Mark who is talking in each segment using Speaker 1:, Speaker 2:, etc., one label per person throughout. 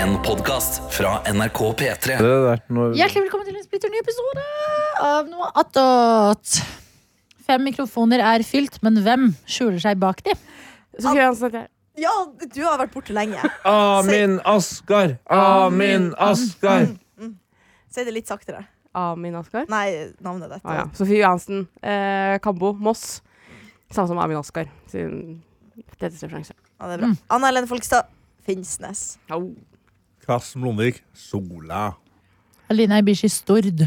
Speaker 1: En podcast fra NRK P3
Speaker 2: Det der, når,
Speaker 3: Hjertelig velkommen til en splitter ny episode av noe attåt. Fem mikrofoner er fylt, men hvem skjuler seg bak de?
Speaker 4: Sofie Johansen heter jeg.
Speaker 5: Ja, du har vært borte lenge.
Speaker 2: Amin Asgar! Amin Asgar!
Speaker 5: Si det litt saktere.
Speaker 4: Amin Askar.
Speaker 5: Nei, navnet ditt.
Speaker 4: Ah, ja. Sofie Johansen. Eh, Kambo. Moss. Samme som Amin Askar sin tetteste referanse.
Speaker 5: Ja, det er
Speaker 2: Mm.
Speaker 5: bra. Anna Helene Folkstad. Finnsnes.
Speaker 4: Au.
Speaker 6: Karsten Blomvik, Sola.
Speaker 3: Alina Ibishi Stord.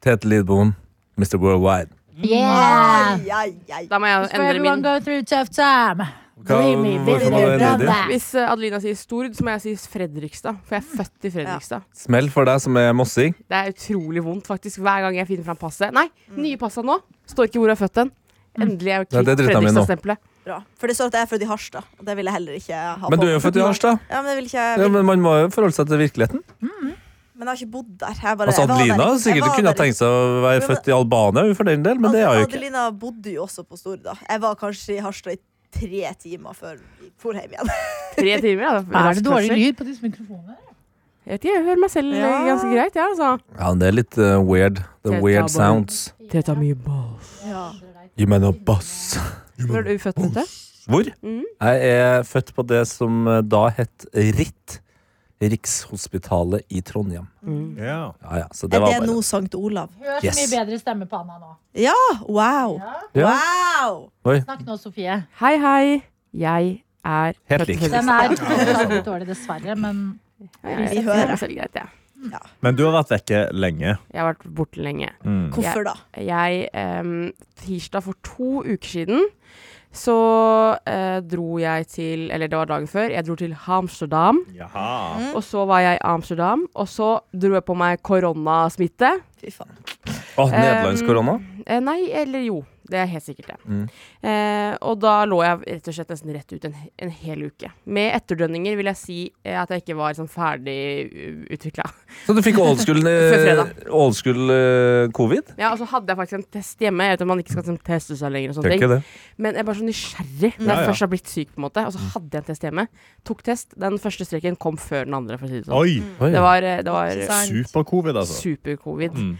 Speaker 2: Tete Lidboen, Mr. Worldwide.
Speaker 3: Mm. Yeah!
Speaker 5: Ai, ai, ai.
Speaker 4: Da må jeg
Speaker 3: For
Speaker 4: endre
Speaker 3: everyone
Speaker 4: min.
Speaker 3: go through tough time.
Speaker 2: Hva,
Speaker 3: Dreamy,
Speaker 2: hvorfor må det
Speaker 3: brother.
Speaker 2: ledig?
Speaker 4: Hvis eh, Adelina sier Stord, så må jeg si Fredrikstad. For jeg er født i Fredrikstad.
Speaker 2: Smell for deg som er mossing.
Speaker 4: Det er utrolig vondt, faktisk. Hver gang jeg finner fram passet. Nei, nye passa nå. Står ikke hvor jeg er født den. Endelig er jeg
Speaker 2: Nei, det
Speaker 4: kvitt
Speaker 2: driter jeg med nå.
Speaker 4: Fredrikstad-stempelet.
Speaker 5: Bra. For det står at jeg er født i Harstad. Og det vil jeg heller ikke ha på.
Speaker 2: Men du er jo født i Harstad.
Speaker 5: Ja, men, det vil ikke, jeg-
Speaker 2: Ja, men man må jo forholde seg til virkeligheten.
Speaker 5: men jeg har ikke bodd der. Jeg bare,
Speaker 2: Altså,
Speaker 5: jeg var der.
Speaker 2: Adelina
Speaker 5: Jeg
Speaker 2: sikkert
Speaker 5: var
Speaker 2: kunne ha
Speaker 5: der.
Speaker 2: tenkt seg å være
Speaker 5: Jo, men-
Speaker 2: født i Albania, hun, for den del, men det er jo ikke
Speaker 5: Adelina bodde jo også på Stord da. Jeg var kanskje i Harstad i tre timer før vi for hjem igjen.
Speaker 4: Tre timer, ja. da.
Speaker 3: Er det dårlig lyd på disse mikrofonene?
Speaker 4: Jeg vet ikke, jeg hører meg selv eh,
Speaker 5: Ja.
Speaker 4: ganske greit, jeg, ja, altså.
Speaker 2: Ja, det er litt eh, weird. The
Speaker 4: Tete
Speaker 2: weird
Speaker 4: Abel.
Speaker 2: sounds.
Speaker 4: Teta mi boss.
Speaker 5: Ja.
Speaker 2: You mener bass.
Speaker 4: Når er du født, vet du?
Speaker 2: Hvor?
Speaker 4: Mm.
Speaker 2: Jeg er født på det som eh, da het RIT. Rikshospitalet i Trondheim.
Speaker 6: Ja.
Speaker 2: Ja, ja, så det
Speaker 5: Er
Speaker 2: var
Speaker 5: det
Speaker 2: bare
Speaker 5: nå Sankt Olav?
Speaker 3: Hør så
Speaker 2: Yes.
Speaker 3: mye bedre stemme på Anna nå.
Speaker 5: Ja! Wow!
Speaker 2: Ja.
Speaker 5: Wow!
Speaker 3: Snakk nå, Sofie.
Speaker 4: Hei, hei. Jeg er
Speaker 2: Helt
Speaker 4: født i
Speaker 2: lik.
Speaker 4: Fredrikstad.
Speaker 3: Den er litt dårlig, dessverre, men
Speaker 4: Ja, jeg-
Speaker 5: Vi
Speaker 4: jeg
Speaker 5: hører.
Speaker 4: hører selv greit, jeg.
Speaker 6: Men du har vært vekke lenge.
Speaker 4: Jeg har vært borte lenge.
Speaker 5: Hvorfor da?
Speaker 4: Jeg, em, tirsdag for to uker siden, så eh, dro jeg til Eller det var dagen før. Jeg dro til Amsterdam.
Speaker 6: Jaha.
Speaker 4: Og så var jeg i Amsterdam, og så dro jeg på meg koronasmitte.
Speaker 5: Fy faen.
Speaker 2: Åh, Nederlandskorona?
Speaker 4: Eh, nei, eller jo. Det er helt sikkert det.
Speaker 2: Mm.
Speaker 4: Eh, og da lå jeg rett og slett nesten rett ut en, en hel uke. Med etterdønninger vil jeg si eh, at jeg ikke var sånn ferdig eh, utvikla.
Speaker 2: Så du fikk old school,
Speaker 4: Før fredag.
Speaker 2: eh, old school eh, covid?
Speaker 4: Ja, og så hadde jeg faktisk en test hjemme. Jeg vet at man ikke skal sånn, teste seg lenger og sånne ting.
Speaker 2: Tenker det.
Speaker 4: Men jeg er bare så nysgjerrig når
Speaker 6: Ja, ja.
Speaker 4: jeg først har blitt syk, på en måte. Og så hadde jeg en test hjemme. Tok test. Den første streken kom før den andre, for å si det sånn.
Speaker 6: Oi!
Speaker 2: Oi.
Speaker 4: Det var, det var
Speaker 6: Super-covid, altså.
Speaker 4: super-covid.
Speaker 6: Mm.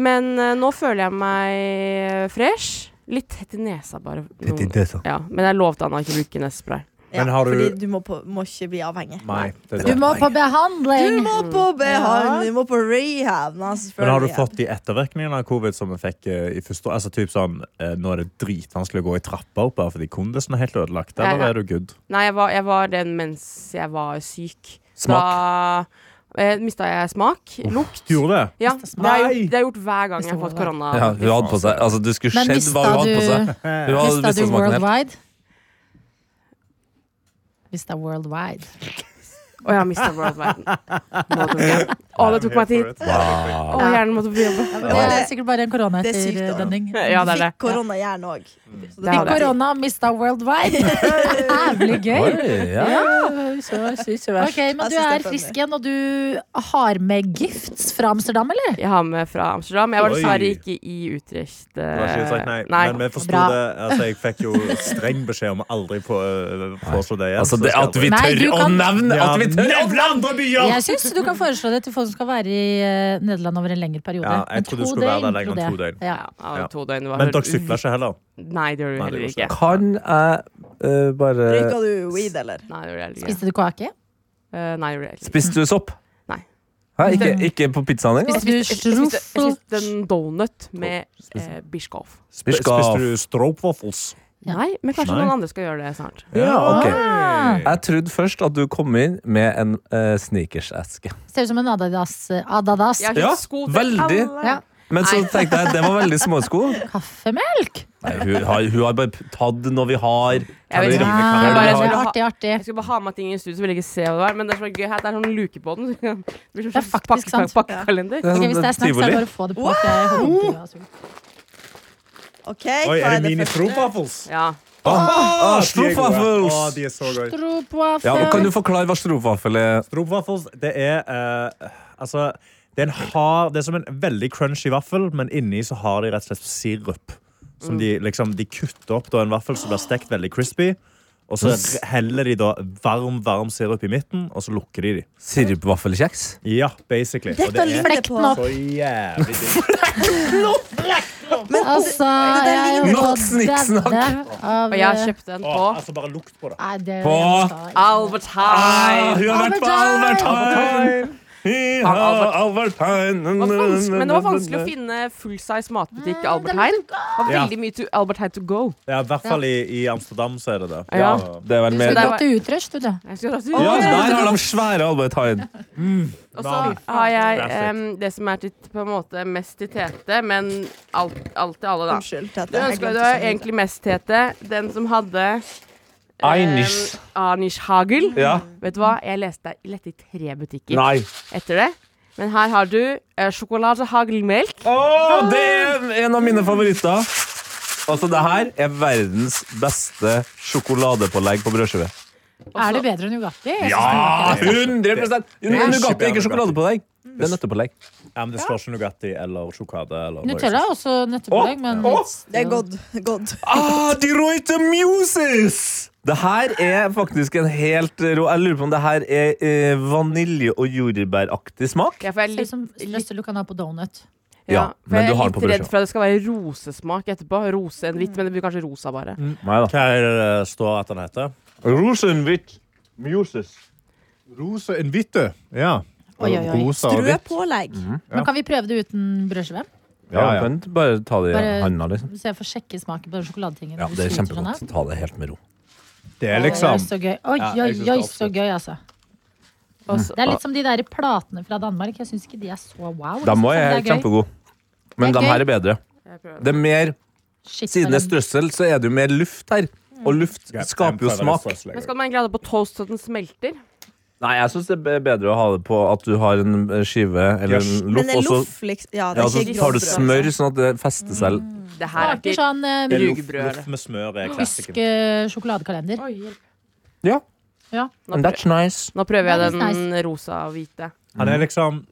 Speaker 4: Men eh, nå føler jeg meg eh, fresh. Litt tett i nesa, bare. Noen- Ja, men jeg lovte han å ikke bruke nesespray.
Speaker 5: Ja,
Speaker 6: Men har du-
Speaker 5: Fordi du må, på, må ikke bli avhengig.
Speaker 6: Nei, det er
Speaker 3: Du
Speaker 6: det.
Speaker 3: må på
Speaker 5: Du
Speaker 3: behandling!
Speaker 5: må på behandling, du må på rehab. nei,
Speaker 6: Men har du
Speaker 5: selvfølgelig.
Speaker 6: fått de ettervirkningene av covid som vi fikk eh, i første år? Altså typ sånn, eh, Nå er det dritvanskelig å gå i trappa opp her fordi kondisen er sånn helt ødelagt.
Speaker 4: Ja, ja.
Speaker 6: Eller er du good?
Speaker 4: Nei, jeg var, jeg var den mens jeg var syk. Da eh, mista jeg smak. Lukt.
Speaker 6: Gjorde det?
Speaker 4: Ja, det har jeg
Speaker 6: Nei!
Speaker 4: gjort- det har jeg gjort hver gang jeg har fått korona.
Speaker 2: Ja, hun hadde på seg Altså, du skulle
Speaker 3: Men
Speaker 2: sett hva
Speaker 3: mista
Speaker 2: hun hadde på seg.
Speaker 3: du,
Speaker 2: Hun hadde
Speaker 3: mista du
Speaker 2: mistet smaken helt.
Speaker 3: worldwide? Mista worldwide.
Speaker 4: Å, jeg har mista worldwiden. Nå tok jeg den. Å, det tok meg tid. Å, hjernen måtte på jobb.
Speaker 3: Det er sikkert bare en korona
Speaker 5: Det er sykt,
Speaker 3: etter
Speaker 5: da.
Speaker 3: dønning.
Speaker 4: Ja, det er
Speaker 5: Du
Speaker 4: det.
Speaker 5: fikk koronahjerne òg.
Speaker 4: Det hadde jeg.
Speaker 3: Korona mista worldwide. Jævlig gøy.
Speaker 2: Oi, ja.
Speaker 3: Ok, Men du
Speaker 5: Jeg synes det
Speaker 3: er
Speaker 5: er
Speaker 3: frisk igjen, og du har med gifts fra Amsterdam, eller?
Speaker 4: Jeg har med fra Amsterdam. Jeg var
Speaker 6: Oi.
Speaker 4: dessverre ikke i Utrecht. eh,
Speaker 6: Du har ikke sagt nei. Men vi forsto
Speaker 3: Bra.
Speaker 6: det. Altså, jeg fikk jo streng beskjed om å aldri på, eh, foreslå det igjen.
Speaker 2: Altså, det at vi
Speaker 3: Nei,
Speaker 2: tør
Speaker 3: du
Speaker 2: å
Speaker 3: kan-
Speaker 2: nevne
Speaker 6: ja,
Speaker 2: at vi tør å
Speaker 6: Nevne andre byer!
Speaker 3: Jeg syns du kan foreslå det til folk som skal være i eh, Nederland over en lengre periode.
Speaker 6: Ja, jeg
Speaker 3: Men
Speaker 6: trodde du
Speaker 3: to
Speaker 6: skulle være
Speaker 3: døgn,
Speaker 6: der lenger enn
Speaker 3: tror
Speaker 6: to
Speaker 3: jeg.
Speaker 6: døgn.
Speaker 3: Ja.
Speaker 4: Ja, det var to døgn. Det var
Speaker 6: Men dere
Speaker 4: helt-
Speaker 6: sykla ikke heller?
Speaker 4: Nei, det gjorde vi
Speaker 6: Nei, det
Speaker 4: heller
Speaker 6: gjorde vi
Speaker 4: ikke.
Speaker 2: Kan jeg eh, bare
Speaker 5: Bruker du weed, eller?
Speaker 4: Nei, det gjorde jeg heller ikke.
Speaker 3: Spiste du kake?
Speaker 4: Eh, Nei, det gjorde jeg heller ikke.
Speaker 2: Spiste du sopp?
Speaker 4: Nei.
Speaker 2: Hæ, ikke, ikke på pizzaen engang?
Speaker 3: Spiste du
Speaker 4: Jeg spiste, jeg
Speaker 3: struffel?
Speaker 4: spiste en donut med eh, Bischkoff.
Speaker 6: Sp-
Speaker 2: Spiste
Speaker 6: Spiste du stroopwaffles?
Speaker 4: Nei, men kanskje
Speaker 6: Nei.
Speaker 4: noen andre skal gjøre det snart.
Speaker 2: Ja, ok.
Speaker 3: Ah,
Speaker 2: Jeg trodde først at du kom inn med en eh, sneakers-eske.
Speaker 3: ser ut som en Adadas. Adadas.
Speaker 4: Jeg har
Speaker 2: Ja,
Speaker 4: kjøpt sko til
Speaker 2: veldig.
Speaker 4: alle.
Speaker 3: Ja.
Speaker 2: Men så
Speaker 4: Nei.
Speaker 2: tenkte jeg det var veldig små sko.
Speaker 3: Kaffemelk!
Speaker 2: Nei, hun, har, hun har bare tatt noe vi har.
Speaker 4: Jeg vet
Speaker 2: Kalorier.
Speaker 4: ikke.
Speaker 3: Ah,
Speaker 2: Kalorier.
Speaker 4: bare- sånn skulle ha-
Speaker 3: artig, artig.
Speaker 4: Jeg skulle bare ha med ting i studio, så ville jeg ikke se hva det var. Men det er så gøy her, det er sånn luke på den. så Det blir som
Speaker 3: Det er
Speaker 4: en
Speaker 3: faktisk
Speaker 4: pakke-
Speaker 3: sant.
Speaker 4: pakke- pakkekalender.
Speaker 3: Ok,
Speaker 2: er sånn
Speaker 3: hvis det er snacks, så er det bare å få det på. for jeg holder på å dø av sult.
Speaker 5: Ok,
Speaker 6: Oi,
Speaker 5: hva
Speaker 6: er
Speaker 5: det
Speaker 6: det mini
Speaker 5: første?
Speaker 6: stroopwaffles?
Speaker 4: Ja.
Speaker 2: Ah, ah,
Speaker 6: de er gode.
Speaker 2: stroopwaffles.
Speaker 6: Ah, de er så gode.
Speaker 3: Stroopwafel.
Speaker 2: Ja, men Kan du forklare hva stroopvaffel er?
Speaker 6: Stroopwaffles, det er eh, Altså, det er en hard Det er som en veldig crunchy vaffel, men inni så har de Mm. rett og slett sirup. Som de liksom De kutter opp da en vaffel som blir stekt veldig crispy. Og så heller de da varm, varm sirup i midten, og så lukker de de.
Speaker 2: Sirupvaffelkjeks?
Speaker 6: Ja, basically. Og
Speaker 5: Dette
Speaker 6: det er
Speaker 5: lurer jeg
Speaker 7: Flekk den
Speaker 5: på.
Speaker 7: opp.
Speaker 6: så jævlig digg.
Speaker 5: Men
Speaker 7: Altså,
Speaker 5: det der
Speaker 7: jeg
Speaker 5: ligner-
Speaker 2: Nok snikksnakk.
Speaker 7: døde av eh,
Speaker 4: Og jeg kjøpte den
Speaker 6: Å,
Speaker 4: på
Speaker 6: altså, bare lukt på det.
Speaker 7: Nei, det
Speaker 2: På-
Speaker 4: Albert
Speaker 6: Ah,
Speaker 4: Heim.
Speaker 6: hun har vært på
Speaker 7: Albert
Speaker 6: Albertheim!
Speaker 4: Albert- Det var vans- Men det var vanskelig å
Speaker 2: finne
Speaker 4: finne full size matbutikk i Albert Heim. Det var
Speaker 6: Ja.
Speaker 4: veldig mye to Albert Heim to go.
Speaker 6: Ja, I hvert fall i, i Amsterdam så er det det.
Speaker 4: Ja.
Speaker 2: Det er vel
Speaker 7: Du
Speaker 2: mer
Speaker 4: det
Speaker 2: Ja,
Speaker 4: er-
Speaker 7: drar til Utrecht, du, det.
Speaker 4: Jeg skal dra til
Speaker 2: der har de svære Albert Heijn.
Speaker 4: Og
Speaker 6: Vanlig.
Speaker 4: så har jeg
Speaker 6: Classic.
Speaker 4: em, det som er til, på en måte mest til Tete, men alt, alt til alle, da.
Speaker 5: Unnskyld. Tete,
Speaker 4: Du
Speaker 5: jeg
Speaker 4: ønsker
Speaker 5: glemte
Speaker 4: du har
Speaker 5: å si det.
Speaker 4: egentlig mest Tete. Den som hadde em,
Speaker 2: Einisch.
Speaker 4: Einisch Hagel.
Speaker 2: Ja.
Speaker 4: Vet du hva? Jeg leste deg lette i tre butikker
Speaker 2: Nei.
Speaker 4: etter det. Men her har du eh, sjokoladehagel-melk.
Speaker 2: Å, det er en av mine favoritter. Altså, det her er verdens beste sjokoladepålegg på brødskive.
Speaker 7: Er det bedre enn Nugatti? Jeg synes
Speaker 2: Ja,
Speaker 7: den er
Speaker 2: 100 Det
Speaker 6: ikke
Speaker 2: Nugatti er
Speaker 6: bedre
Speaker 2: ikke sjokoladepålegg. Det er nøttepålegg.
Speaker 6: Ja, men det står ikke Nugatti eller sjokade. Eller
Speaker 7: Nugatti. Nutella er også nøttepålegg, men
Speaker 2: Å,
Speaker 7: litt-
Speaker 5: Det er godt. godt.
Speaker 2: Ah, de Ruiter Muses! Det her er faktisk en helt rå Jeg lurer på om det her er eh, vanilje- og jordbæraktig smak.
Speaker 4: Ja, for jeg
Speaker 7: Ser
Speaker 4: er
Speaker 7: ut
Speaker 4: litt,
Speaker 7: som strøssel du kan ha på donut.
Speaker 2: Ja,
Speaker 4: for
Speaker 2: men
Speaker 4: jeg
Speaker 2: du har
Speaker 4: er
Speaker 2: den på
Speaker 4: litt redd
Speaker 2: brødskiva.
Speaker 4: for at det skal være rosesmak etterpå. Rose enn
Speaker 7: Mm.
Speaker 4: hvitt, men det blir kanskje rosa bare.
Speaker 2: Nei da.
Speaker 6: Hva er det det står at den heter?
Speaker 2: Rosenhvitt Muses.
Speaker 8: Rose en hvitte. Ja.
Speaker 7: Oi, oi, oi.
Speaker 8: Rosa og
Speaker 5: Drø
Speaker 8: hvitt.
Speaker 5: pålegg.
Speaker 6: Mm.
Speaker 7: Men kan vi prøve det uten brødskive?
Speaker 8: Ja,
Speaker 2: Ja,
Speaker 8: ja.
Speaker 2: men Bare ta det i
Speaker 7: Bare-
Speaker 2: handa, liksom.
Speaker 7: Så jeg får sjekke smaken på den sjokoladetingen.
Speaker 2: Ja,
Speaker 7: du
Speaker 2: det er
Speaker 7: syter den her.
Speaker 2: kjempegodt. Ta det helt med ro.
Speaker 8: Det er
Speaker 7: Oi,
Speaker 8: liksom
Speaker 7: så gøy. Oi,
Speaker 8: Ja,
Speaker 7: oi,
Speaker 8: jeg synes det er
Speaker 7: oi, så
Speaker 8: absolutt.
Speaker 7: gøy, altså.
Speaker 4: Og så-
Speaker 7: Det er litt som de der platene fra Danmark. Jeg syns ikke de er så wow.
Speaker 2: De må
Speaker 7: jeg
Speaker 2: er
Speaker 7: synes det er gøy.
Speaker 2: kjempegod. Men
Speaker 7: Det er
Speaker 2: de
Speaker 7: gøy.
Speaker 2: her er bedre.
Speaker 4: Jeg prøver.
Speaker 2: Det er mer,
Speaker 7: Shit,
Speaker 2: Siden det er
Speaker 7: men-
Speaker 2: strøssel, så er det jo mer luft her. Og luft
Speaker 6: Ja,
Speaker 2: skaper jo
Speaker 6: den prøver
Speaker 2: smak.
Speaker 6: litt strøssel,
Speaker 4: Men
Speaker 6: jeg
Speaker 4: skal man egentlig ha det på toast så den smelter?
Speaker 2: Nei, jeg syns det er bedre å ha det på at du har en eh, skive eller
Speaker 6: Yes.
Speaker 2: en
Speaker 5: Men
Speaker 2: loff,
Speaker 5: det er
Speaker 2: og så
Speaker 5: loff, liksom. Ja, det
Speaker 2: Ja,
Speaker 5: er
Speaker 2: så
Speaker 5: ikke Mm.
Speaker 2: tar du
Speaker 5: grovbrød,
Speaker 2: smør
Speaker 5: altså.
Speaker 2: sånn at det fester seg. litt.
Speaker 4: Det her er
Speaker 7: Smaker
Speaker 4: ikke
Speaker 7: sånn eh,
Speaker 6: går.
Speaker 4: Det er
Speaker 6: Loff-
Speaker 4: rugebrød,
Speaker 6: Loff med smør er
Speaker 7: tysk
Speaker 6: klassikeren.
Speaker 7: eh, sjokoladekalender.
Speaker 4: Oi, hjelp.
Speaker 2: Ja,
Speaker 4: Nå,
Speaker 2: and
Speaker 4: prø
Speaker 2: that's nice.
Speaker 4: nå prøver jeg
Speaker 7: That is
Speaker 4: den rosa og hvite.
Speaker 6: Han er liksom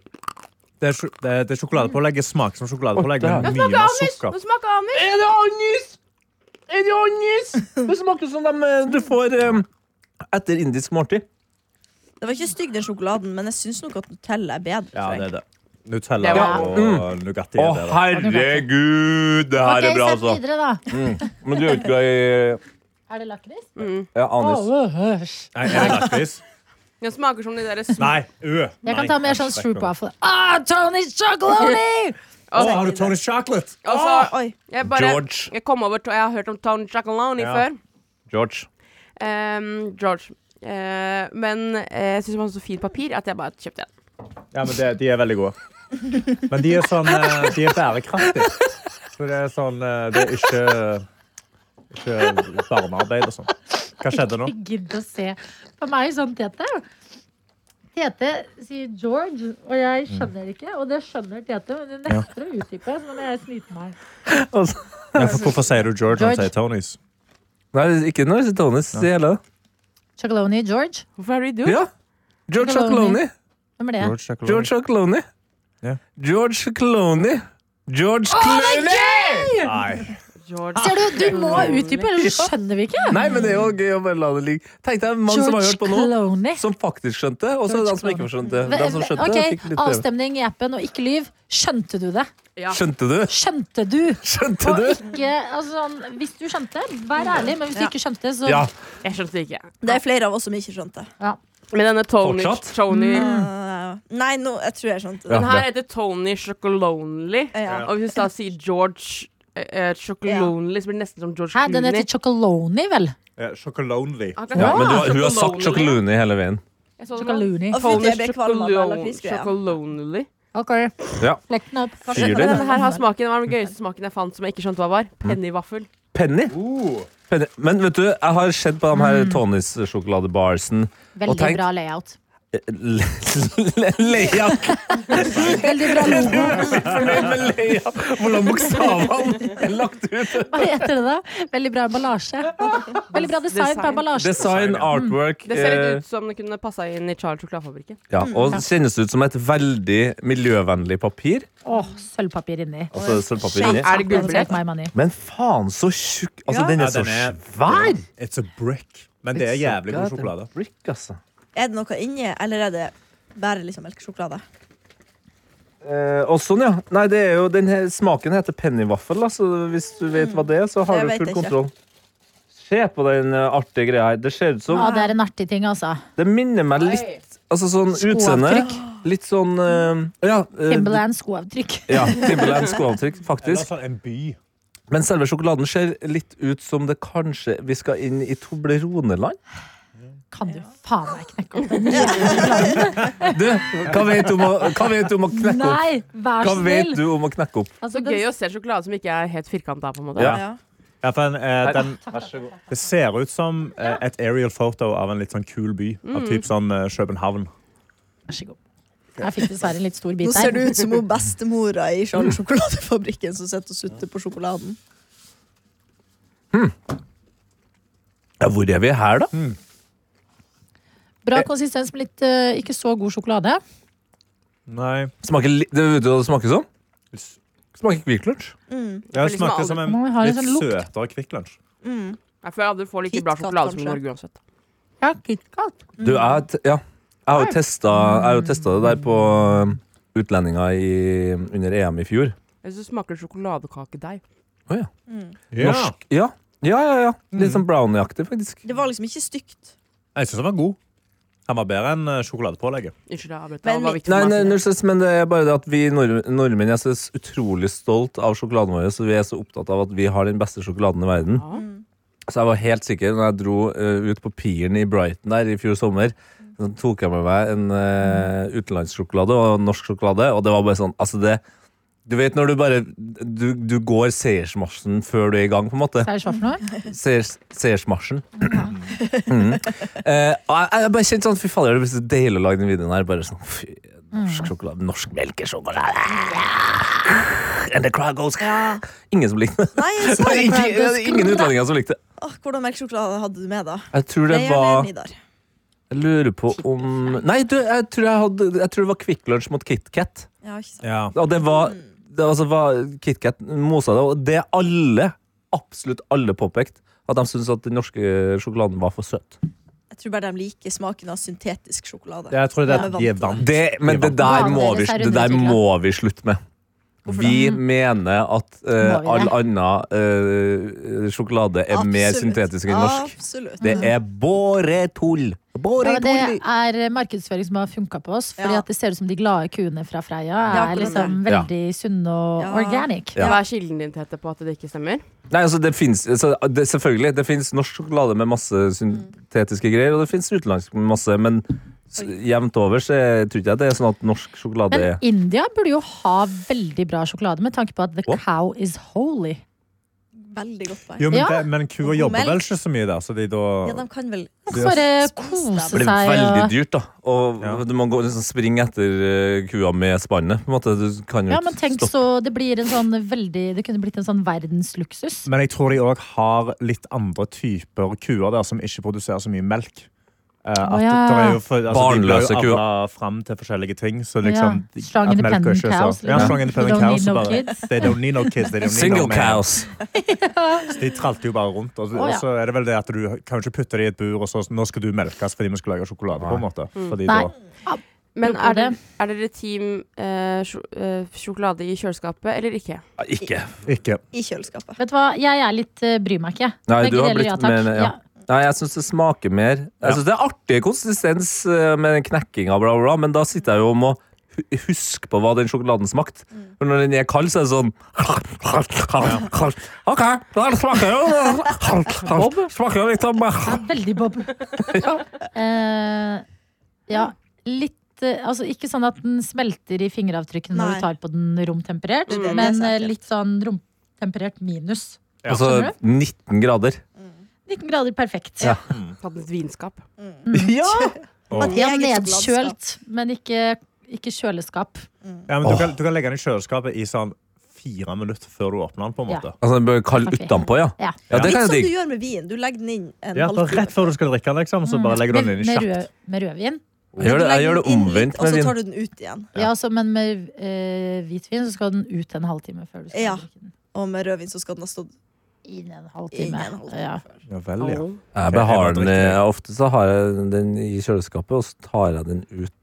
Speaker 6: det er, sjo- det er, det er sjokoladepålegget smaker som sjokoladepålegg,
Speaker 2: Å,
Speaker 6: men mye mer sukker.
Speaker 4: Det smaker anis!
Speaker 2: Er det anis? Er det anis? Det smaker som dem eh, du får eh, etter indisk måltid.
Speaker 5: Det var ikke stygg, den sjokoladen, men jeg syns nok at Nutella er bedre.
Speaker 6: Ja,
Speaker 5: tror
Speaker 6: det
Speaker 5: jeg.
Speaker 6: er det. Nutella
Speaker 4: Det var-
Speaker 6: og Nugatti
Speaker 2: Å,
Speaker 6: er det. da.
Speaker 2: herregud, det her
Speaker 7: Ok,
Speaker 2: er bra,
Speaker 7: sett
Speaker 2: altså.
Speaker 7: videre, da.
Speaker 2: Men du er jo ikke glad i
Speaker 7: Er det lakris?
Speaker 2: ja, anis.
Speaker 6: Nei, er det lakris?
Speaker 4: Den smaker som de der små
Speaker 6: Nei, ø.
Speaker 7: Jeg
Speaker 6: Nei,
Speaker 7: kan ta mer sånn
Speaker 6: kanskje
Speaker 7: stroop
Speaker 6: vekk nå.
Speaker 7: waffle. Ah, Tony Chocoloney!
Speaker 6: Å, har du Tony Chocolate?
Speaker 4: Og så-
Speaker 5: Oi.
Speaker 4: jeg, bare,
Speaker 2: George.
Speaker 4: jeg kom over til Jeg har hørt om Tony Chocolonely
Speaker 6: Ja.
Speaker 4: før.
Speaker 2: George.
Speaker 4: Ehm, George. Eh, men eh, jeg syns det var så fint papir at jeg bare kjøpte en.
Speaker 6: Ja, men det, de er veldig gode. Men de er sånn eh, De er bærekraftige. Så det er sånn eh, Det er ikke, ikke barnearbeid og sånn. Hva skjedde nå?
Speaker 7: Gidd å se. For meg sånn Tete. Tete sier George, og
Speaker 2: Mm.
Speaker 7: jeg skjønner ikke. Og det skjønner Tete, men hun nekter å utdype. Så nå må jeg snyte meg.
Speaker 6: Ja, for hvorfor sier du George når
Speaker 7: George.
Speaker 6: du sier Tonys?
Speaker 2: Nei, ikke noe sitonis i hele det.
Speaker 7: Chocoloney George?
Speaker 4: Hvorfor er du idiot?
Speaker 2: Ja. George
Speaker 7: Chocolonely.
Speaker 2: Chocolonely.
Speaker 7: Hvem er det?
Speaker 6: George Chocolate.
Speaker 2: George Clooney.
Speaker 6: Ja.
Speaker 2: George Clooney. George Clooney!
Speaker 6: Nei.
Speaker 4: George.
Speaker 7: Ser du, du må utdype, ellers skjønner vi ikke.
Speaker 2: Nei, men det er jo gøy å bare la det ligge. Tenk deg en mann som har hørt på nå,
Speaker 7: Clooney.
Speaker 2: som faktisk skjønte, og så er det han som ikke skjønte. Den som skjønte, fikk
Speaker 7: Ok,
Speaker 2: litt prøve.
Speaker 7: Avstemning i appen og ikke lyv. Skjønte du det?
Speaker 4: Ja.
Speaker 2: Skjønte du?
Speaker 7: Skjønte du?
Speaker 2: Skjønte
Speaker 7: Og
Speaker 2: du?
Speaker 7: ikke, altså, sånn, hvis du skjønte, vær ærlig, men hvis du
Speaker 5: Ja.
Speaker 7: ikke skjønte, så
Speaker 2: Ja.
Speaker 4: Jeg skjønte det ikke.
Speaker 5: Det er flere av oss som ikke skjønte.
Speaker 4: Men denne Tony,
Speaker 2: Fortsatt?
Speaker 4: Tony
Speaker 5: Uh, nei, nå, jeg tror jeg skjønte det.
Speaker 2: Ja.
Speaker 4: Den her heter Tony Chocolonely.
Speaker 5: Ja.
Speaker 4: Og hvis du da sier George eh, eh, Chocolonely, så blir det nesten som George
Speaker 7: Hæ, den
Speaker 4: Clooney.
Speaker 7: heter Chocoloney, vel?
Speaker 6: Eh, Chocolonely.
Speaker 4: Han kan
Speaker 2: Ja,
Speaker 4: kalle
Speaker 2: men du,
Speaker 4: den
Speaker 2: hun har sagt
Speaker 4: Chocolonely.
Speaker 2: Chocoloney hele veien.
Speaker 4: Jeg så den nå.
Speaker 7: Chocoloney.
Speaker 5: Og fordi jeg ble kvalm av
Speaker 4: Chocolon-
Speaker 5: lakrisgreia.
Speaker 4: Chocolonely.
Speaker 7: Ok.
Speaker 2: Ja.
Speaker 7: Flekk den opp.
Speaker 2: Fyr
Speaker 4: Men
Speaker 2: den.
Speaker 4: denne her har smaken, det var den gøyeste smaken jeg fant som jeg ikke skjønte hva var.
Speaker 2: Mm.
Speaker 4: Pennyvaffel.
Speaker 2: Penny.
Speaker 6: Uh.
Speaker 2: Penny. Men vet du, jeg har sett på de
Speaker 4: Mm.
Speaker 2: her Tonys-sjokoladebarsen Og
Speaker 7: Veldig
Speaker 2: tenk-
Speaker 7: bra layout.
Speaker 2: Layout!
Speaker 7: Veldig bra logo.
Speaker 2: Fornøyd med layout! Hvordan bokstavene er lagt ut.
Speaker 7: Hva heter det da? Veldig bra emballasje. Veldig bra design på
Speaker 4: Design.
Speaker 7: emballasjen.
Speaker 2: Design, artwork
Speaker 4: Det ser
Speaker 2: eh,
Speaker 4: litt ut som det kunne passa inn i Charles sjokoladefabrikken.
Speaker 2: Ja,
Speaker 5: Mm.
Speaker 2: og det kjennes ut som et veldig miljøvennlig papir.
Speaker 7: Åh, sølvpapir inni.
Speaker 2: Altså sølvpapir inni.
Speaker 4: Er det
Speaker 7: Søk
Speaker 4: gullbrett?
Speaker 7: meg, Mani.
Speaker 2: Men faen, så tjukk Altså, den
Speaker 6: Ja,
Speaker 2: er så
Speaker 6: den er-
Speaker 2: svær!
Speaker 6: It's a brick. Men det er jævlig god sjokolade.
Speaker 2: Brick, altså.
Speaker 5: Er det noe inni, eller er det bare liksom melkesjokolade?
Speaker 2: Eh, og sånn, ja. Nei, det er jo, den her smaken heter pennyvaffel, da, så hvis du vet hva det er, så har
Speaker 5: Mm.
Speaker 2: du
Speaker 5: Det vet
Speaker 2: full
Speaker 5: jeg ikke.
Speaker 2: kontroll. Se på den eh, artige greia her. Det ser ut som
Speaker 7: Ja, det er en artig ting, altså.
Speaker 2: Det minner meg litt Altså sånn utseende. Litt sånn eh, Ja. eh,
Speaker 7: Timberland skoavtrykk.
Speaker 2: ja Timberland skoavtrykk,
Speaker 6: Eller
Speaker 2: faktisk.
Speaker 6: sånn en by.
Speaker 2: Men selve sjokoladen ser litt ut som det kanskje Vi skal inn i Toblerone-land.
Speaker 7: Kan du faen meg knekke opp en
Speaker 2: Du, hva vet du om å, hva vet du om å knekke opp?
Speaker 3: Nei, vær
Speaker 2: Hva
Speaker 3: så
Speaker 2: vet
Speaker 3: snill!
Speaker 2: du om å knekke opp?
Speaker 4: Så
Speaker 3: Altså, den
Speaker 4: gøy å se sjokolade som ikke er helt firkanta, på en måte.
Speaker 2: Ja.
Speaker 6: Ja, for den, eh, den, det ser ut som eh, et aerial photo av en litt sånn kul by. Av typ sånn eh, København.
Speaker 7: Vær så god. Jeg fikk dessverre en litt stor
Speaker 5: Nå
Speaker 7: bit der.
Speaker 5: ser det ut som hun bestemora i Charles sjokoladefabrikken som sitter og sutter på sjokoladen.
Speaker 2: Ja, hvor er vi her, da?
Speaker 7: Bra konsistens, men litt eh, ikke så god sjokolade.
Speaker 6: Nei.
Speaker 2: Smaker li det, vet du hva det smaker som? Smaker Kvikk Lunsj.
Speaker 6: Ja,
Speaker 4: For
Speaker 6: det
Speaker 4: liksom
Speaker 6: smaker
Speaker 4: aldri-
Speaker 6: som en
Speaker 7: Man har en
Speaker 6: litt
Speaker 7: sånn lukt.
Speaker 6: søtere Kvikk Lunsj.
Speaker 4: Ja, For alle får like bra
Speaker 5: KitKat,
Speaker 4: sjokolade som i
Speaker 5: kanskje.
Speaker 4: Norge uansett.
Speaker 7: Ja, KitKat.
Speaker 2: Du,
Speaker 3: Mm.
Speaker 2: jeg, har t- ja. jeg har jo testa, jeg har jo testa det der på um, utlendinger i, under EM i fjor.
Speaker 4: Jeg synes det smaker sjokoladekakedeig.
Speaker 6: Ja.
Speaker 2: Norsk. Ja. Ja, ja, ja. Litt sånn brownie-aktig, faktisk.
Speaker 5: Det var liksom ikke stygt.
Speaker 6: Jeg syns den var god. Den var bedre enn eh, sjokoladepålegget.
Speaker 4: Unnskyld, jeg avbrøt.
Speaker 5: Men
Speaker 4: Det var
Speaker 5: vi-
Speaker 4: viktig
Speaker 2: Nei,
Speaker 4: for meg.
Speaker 2: nei, null stress, men det er bare det at vi nord nordmenn er så s- utrolig stolt av sjokoladen vår, så vi er så opptatt av at vi har den beste sjokoladen i verden.
Speaker 4: Ja.
Speaker 2: Så jeg var helt sikker når jeg dro eh, ut på piren i Brighton der i fjor sommer. Så tok jeg med meg en eh, utenlandssjokolade og norsk sjokolade, og det var bare sånn Altså, det Du vet når du bare Du, du går seiersmarsjen før du er i gang, på en måte.
Speaker 7: Hva er det så for noe?
Speaker 2: Seiers, seiersmarsjen. Mhm. Eh, og jeg, jeg bare kjente sånn Fy fader, det blir så deilig å lage den videoen her. Bare sånn Fy,
Speaker 5: Mm.
Speaker 2: norsk sjokolade, norsk melkesjokolade And the crowd goes Ingen som likte det.
Speaker 5: Nei, jeg sa det.
Speaker 2: Ingen, ingen utlendinger som likte det.
Speaker 5: Åh, hvordan melkesjokolade hadde du med, da?
Speaker 2: Jeg tror det
Speaker 5: Nei,
Speaker 2: var
Speaker 5: eller Nidar?
Speaker 2: Jeg lurer på om Nei, du, jeg tror, jeg hadde, jeg tror det var Kvikk Lunsj mot KitKat.
Speaker 5: Ja, ikke sant.
Speaker 6: Ja.
Speaker 2: Og det var,
Speaker 5: Mm.
Speaker 2: det altså var KitKat mosa det, og det alle, absolutt alle påpekte, at de syntes at den norske sjokoladen var for søt.
Speaker 5: Jeg tror bare de liker smaken av syntetisk sjokolade.
Speaker 6: Jeg tror det er
Speaker 5: Ja,
Speaker 6: at de er vant.
Speaker 2: Det, men det der, må vi, det der må vi slutte med. Vi mener at eh,
Speaker 7: Må vi det?
Speaker 2: all annen eh, sjokolade er mer
Speaker 5: Absolutt. Ah.
Speaker 2: syntetisk enn norsk.
Speaker 5: Absolutt.
Speaker 2: Det er bare tull! Bare
Speaker 7: Ja, det
Speaker 2: tull!
Speaker 7: er eh, markedsføring som har funka på oss. Fordi
Speaker 5: Ja.
Speaker 7: at det ser ut som de glade kuene fra Freia
Speaker 5: Ja,
Speaker 7: er
Speaker 5: akkurat
Speaker 7: liksom
Speaker 2: Ja.
Speaker 7: veldig sunne og
Speaker 5: Ja.
Speaker 7: organic.
Speaker 2: Ja.
Speaker 4: Hva er kilden din Tete, på at det ikke stemmer?
Speaker 2: Nei, altså det finnes, altså, det, Selvfølgelig, det finnes norsk sjokolade med masse syntetiske greier, og det finnes utenlandsk med masse, men s- jevnt over så er- tror ikke jeg det er sånn at norsk sjokolade
Speaker 7: Men
Speaker 2: er
Speaker 7: India burde jo ha veldig bra sjokolade, med tanke på at the
Speaker 2: Hva?
Speaker 7: cow is holy.
Speaker 5: Veldig godt poeng.
Speaker 6: Jo, men,
Speaker 7: Ja.
Speaker 6: det, men kua
Speaker 5: Og
Speaker 6: jobber vel
Speaker 5: melk.
Speaker 6: ikke så mye der, så de da
Speaker 5: Ja, de kan vel
Speaker 7: Man får bare
Speaker 5: Spis
Speaker 7: eh, kose
Speaker 5: dem.
Speaker 2: Det blir
Speaker 7: seg.
Speaker 2: veldig
Speaker 7: og-
Speaker 2: dyrt, da. Og
Speaker 6: Ja.
Speaker 2: du må gå, liksom, springe etter eh, kua med spannet. På en måte, du kan jo
Speaker 7: Ja,
Speaker 2: ikke
Speaker 7: men tenk
Speaker 2: stoppe.
Speaker 7: så Det blir en sånn veldig Det kunne blitt en sånn verdensluksus.
Speaker 6: Men jeg tror de òg har litt andre typer kuer der som ikke produserer så mye melk. Eh, at
Speaker 7: Å, ja.
Speaker 6: det er jo for, altså,
Speaker 2: Barnløse
Speaker 6: de ble jo
Speaker 2: kuer.
Speaker 6: avla fram til forskjellige ting. Så liksom,
Speaker 7: Ja, strong
Speaker 6: at melk er
Speaker 7: independent
Speaker 6: ikke så-
Speaker 7: cows,
Speaker 6: Ja,
Speaker 7: liksom.
Speaker 6: strong
Speaker 7: They don't
Speaker 6: independent cows.
Speaker 7: need no
Speaker 6: og bare,
Speaker 7: kids.
Speaker 6: they don't need no kids. They don't need no
Speaker 2: Single
Speaker 6: man.
Speaker 2: cows!
Speaker 6: De tralte jo bare rundt. Og,
Speaker 7: Å, ja.
Speaker 6: og så er det vel det at du kan jo ikke putte dem i et bur, og så nå skal du melkes fordi vi skal lage sjokolade. på en måte. Fordi
Speaker 7: Mm. Nei.
Speaker 6: da,
Speaker 4: Men
Speaker 7: Tror
Speaker 4: er,
Speaker 7: det.
Speaker 4: det, er dere team eh, sjo- eh, sjokolade i kjøleskapet eller ikke?
Speaker 5: Ah,
Speaker 2: Ja, ikke.
Speaker 6: ikke.
Speaker 5: i kjøleskapet.
Speaker 7: Vet du hva, jeg er litt eh, bryr meg ikke.
Speaker 2: Nei,
Speaker 7: Begge
Speaker 2: du har
Speaker 7: deler,
Speaker 2: blitt
Speaker 7: takk.
Speaker 2: mer- ja. Nei, jeg syns det smaker mer. Jeg synes Det er artig konsistens eh, med den knekkinga, bla, bla, bla, men da sitter jeg jo og må hu- huske på hva den sjokoladen smakte.
Speaker 7: Mm.
Speaker 2: For når den er kald, så er det sånn OK, da smaker jo Smaker jo litt av meg.
Speaker 7: Veldig bob. Eh, ja, litt eh, Altså ikke sånn at den smelter i fingeravtrykkene når
Speaker 5: Nei. Mm,
Speaker 7: du tar på den romtemperert,
Speaker 5: Det er det
Speaker 7: men
Speaker 5: som er
Speaker 7: eh,
Speaker 5: ekkelt.
Speaker 7: litt sånn romtemperert minus.
Speaker 2: Altså 19 grader.
Speaker 7: 19 grader perfekt.
Speaker 2: Ja.
Speaker 4: Tatt et vinskap?
Speaker 7: Mm.
Speaker 2: Ja!
Speaker 5: At
Speaker 7: Ja,
Speaker 5: eget sjokoladeskap.
Speaker 7: nedkjølt, men ikke, ikke kjøleskap.
Speaker 6: Ja, men du, kan, du kan legge den i kjøleskapet i sånn fire minutter før du åpner den. på en måte.
Speaker 2: Altså, den bør kalde
Speaker 7: Ok.
Speaker 2: utenpå, ja.
Speaker 7: Ja.
Speaker 2: Ja, det kan
Speaker 5: Litt sånn som
Speaker 2: jeg
Speaker 5: du
Speaker 2: digge.
Speaker 5: gjør med vin. Du legger den inn en Mm.
Speaker 6: Ja, bare
Speaker 5: halvtime.
Speaker 6: Rett før du skal drikke den, liksom, så bare legger du
Speaker 7: Med,
Speaker 6: den inn i
Speaker 7: Mm. med,
Speaker 6: kjapt.
Speaker 7: rød, med rødvin.
Speaker 2: Jeg gjør det, jeg gjør det
Speaker 5: Legger den inn
Speaker 2: omvendt
Speaker 5: litt, sånn Og
Speaker 2: med
Speaker 5: så
Speaker 2: vin.
Speaker 5: tar du den ut igjen.
Speaker 7: Ja, altså, men med eh, hvitvin så skal den ut en halvtime før du skal
Speaker 5: Ja.
Speaker 7: drikke den.
Speaker 5: Og med rødvin så skal den ha stått
Speaker 7: innen en halvtime.
Speaker 5: Ingen holdt
Speaker 7: Ja.
Speaker 5: meg før.
Speaker 6: Ja vel, ja.
Speaker 2: Jeg behar den
Speaker 6: Det
Speaker 2: i- Ofte så har jeg den i kjøleskapet, og så tar jeg den ut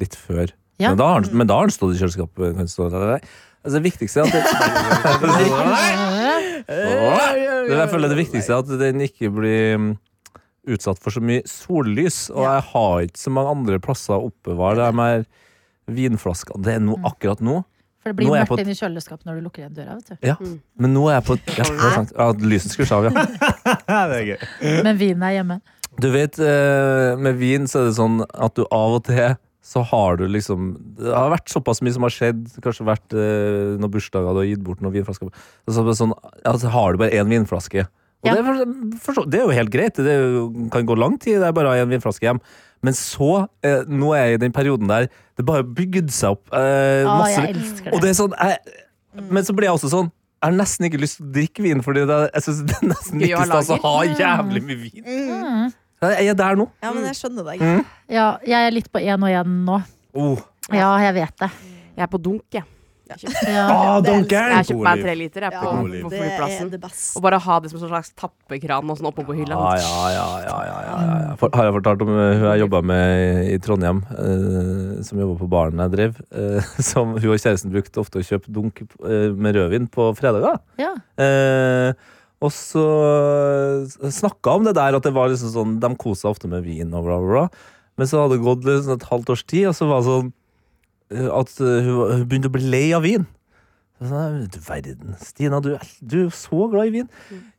Speaker 2: litt før.
Speaker 7: Ja.
Speaker 2: Men, da har den, men da har den stått i kjøleskapet. Kan stå der, der. Altså, det viktigste er at det, det, jeg føler det viktigste er at den ikke blir mm, utsatt for så mye sollys. Og jeg har ikke så mange andre plasser å oppbevare de her vinflaskene. Det er nå akkurat nå.
Speaker 7: For det
Speaker 2: Nå
Speaker 7: blir
Speaker 2: er jeg
Speaker 7: mørkt
Speaker 2: på-
Speaker 7: inne i kjøleskapet når du lukker igjen døra. vet du.
Speaker 2: Ja. Men nå er jeg på ja, det er sant. ja, Lyset skrus av, ja.
Speaker 6: det er gøy.
Speaker 7: Men vinen er hjemme.
Speaker 2: Du vet, eh, med vin så er det sånn at du av og til så har du liksom Det har vært såpass mye som har skjedd, kanskje vært eh, noen bursdager du har gitt bort noen vinflasker Og så er det sånn, ja, så har du bare én vinflaske. Og
Speaker 7: Ja.
Speaker 2: det, er for, for, så- det er jo helt greit, det er jo, kan gå lang tid, det er bare å ha én vinflaske hjem. Men så, eh, nå er jeg i den perioden der det bare har bygd seg opp eh,
Speaker 7: Å,
Speaker 2: masse
Speaker 7: Ah, jeg elsker
Speaker 2: Og
Speaker 7: det. Mm.
Speaker 2: det er sånn jeg, Men så blir jeg også sånn Jeg har nesten ikke lyst til å drikke vin, fordi det, er- jeg syns det er nesten
Speaker 4: Gøy å ha
Speaker 2: viktigst altså, å ha
Speaker 7: lager.
Speaker 2: jævlig mye vin.
Speaker 5: Mm.
Speaker 2: Jeg er der nå.
Speaker 5: Ja, men jeg skjønner deg.
Speaker 2: Mm.
Speaker 7: Ja, jeg er litt på én og én nå.
Speaker 2: Oh.
Speaker 7: Ja, jeg vet det.
Speaker 4: Jeg er på dunk, jeg.
Speaker 7: Ja.
Speaker 5: det er-
Speaker 4: Jeg har
Speaker 9: God
Speaker 4: kjøpt meg en
Speaker 9: liv.
Speaker 4: treliter jeg,
Speaker 5: Ja,
Speaker 4: på, på
Speaker 5: det er
Speaker 4: flyplassen.
Speaker 5: det beste.
Speaker 4: Og bare ha det som en slags tappekran og sånn oppe på hylla.
Speaker 2: Ja, ja, ja, ja, ja, ja, ja. For, Har jeg fortalt om eh, hun jeg jobba med i Trondheim, eh, som jobba på baren jeg drev, eh, som hun og kjæresten brukte ofte å kjøpe dunk eh, med rødvin på fredager?
Speaker 7: Ja.
Speaker 2: Eh, og så snakka om det der at det var liksom sånn de kosa seg ofte med vin og bla, bla, bla. Men så hadde det gått liksom et halvt års tid, og så var det sånn eh, at eh, hun, hun begynte å bli lei av vin. Så sa jeg, Du verden, Stina, du, er- du er jo så glad i vin.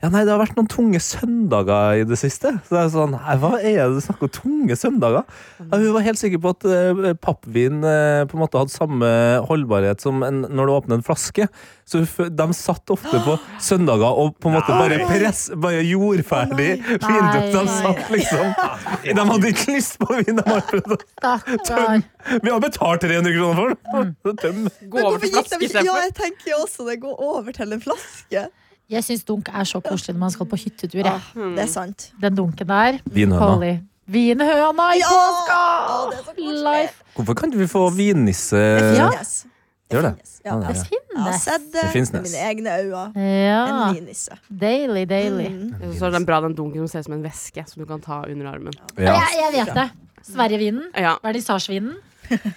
Speaker 2: Ja, nei, det har vært noen tunge søndager i det siste. Så jeg er sånn, nei, hva er det du snakker om? Tunge søndager? Ja, hun var helt sikker på at eh, pappvin eh, på en måte hadde samme holdbarhet som en, når du åpner en flaske. Så hun fø- de satt ofte på søndager og på en måte bare, press, bare gjorde ferdig vinduet. De
Speaker 7: Nei.
Speaker 2: satt liksom De hadde ikke lyst på vin! De hadde prøvd å
Speaker 7: Stakkar.
Speaker 2: vi har betalt 300 kroner for den! Og Tøm.
Speaker 4: Gå over til flaske
Speaker 5: de ikke Ja,
Speaker 4: istedenfor.
Speaker 5: jeg tenker jo også det. Gå over til en flaske.
Speaker 7: Jeg syns dunk er så koselig når man skal på hyttetur.
Speaker 5: Ja,
Speaker 7: jeg.
Speaker 4: Hmm. Mm.
Speaker 5: det er sant.
Speaker 7: Den dunken der.
Speaker 2: Vinhøna.
Speaker 7: Holy. Vinhøna i
Speaker 5: Ja!
Speaker 7: påska!
Speaker 5: Å, det er så koselig.
Speaker 7: Life.
Speaker 2: Hvorfor kan ikke vi få vinnisse
Speaker 5: Det
Speaker 2: ja.
Speaker 5: finnes.
Speaker 2: Eh, gjør det. Sånn,
Speaker 5: finnes, Ja.
Speaker 7: Det
Speaker 5: Jeg har
Speaker 7: finnes.
Speaker 5: sett det
Speaker 2: Det finnes
Speaker 5: med
Speaker 2: nes.
Speaker 5: mine egne øyne. En Mm.
Speaker 7: Ja.
Speaker 5: vinisse.
Speaker 7: Daily, daily.
Speaker 4: Og Så er den bra, den dunken som ser ut som en væske som du kan ta under armen.
Speaker 2: Ja.
Speaker 7: Jeg, jeg vet det. Sverigevinen.
Speaker 4: Ja.
Speaker 7: Vernissasjevinen.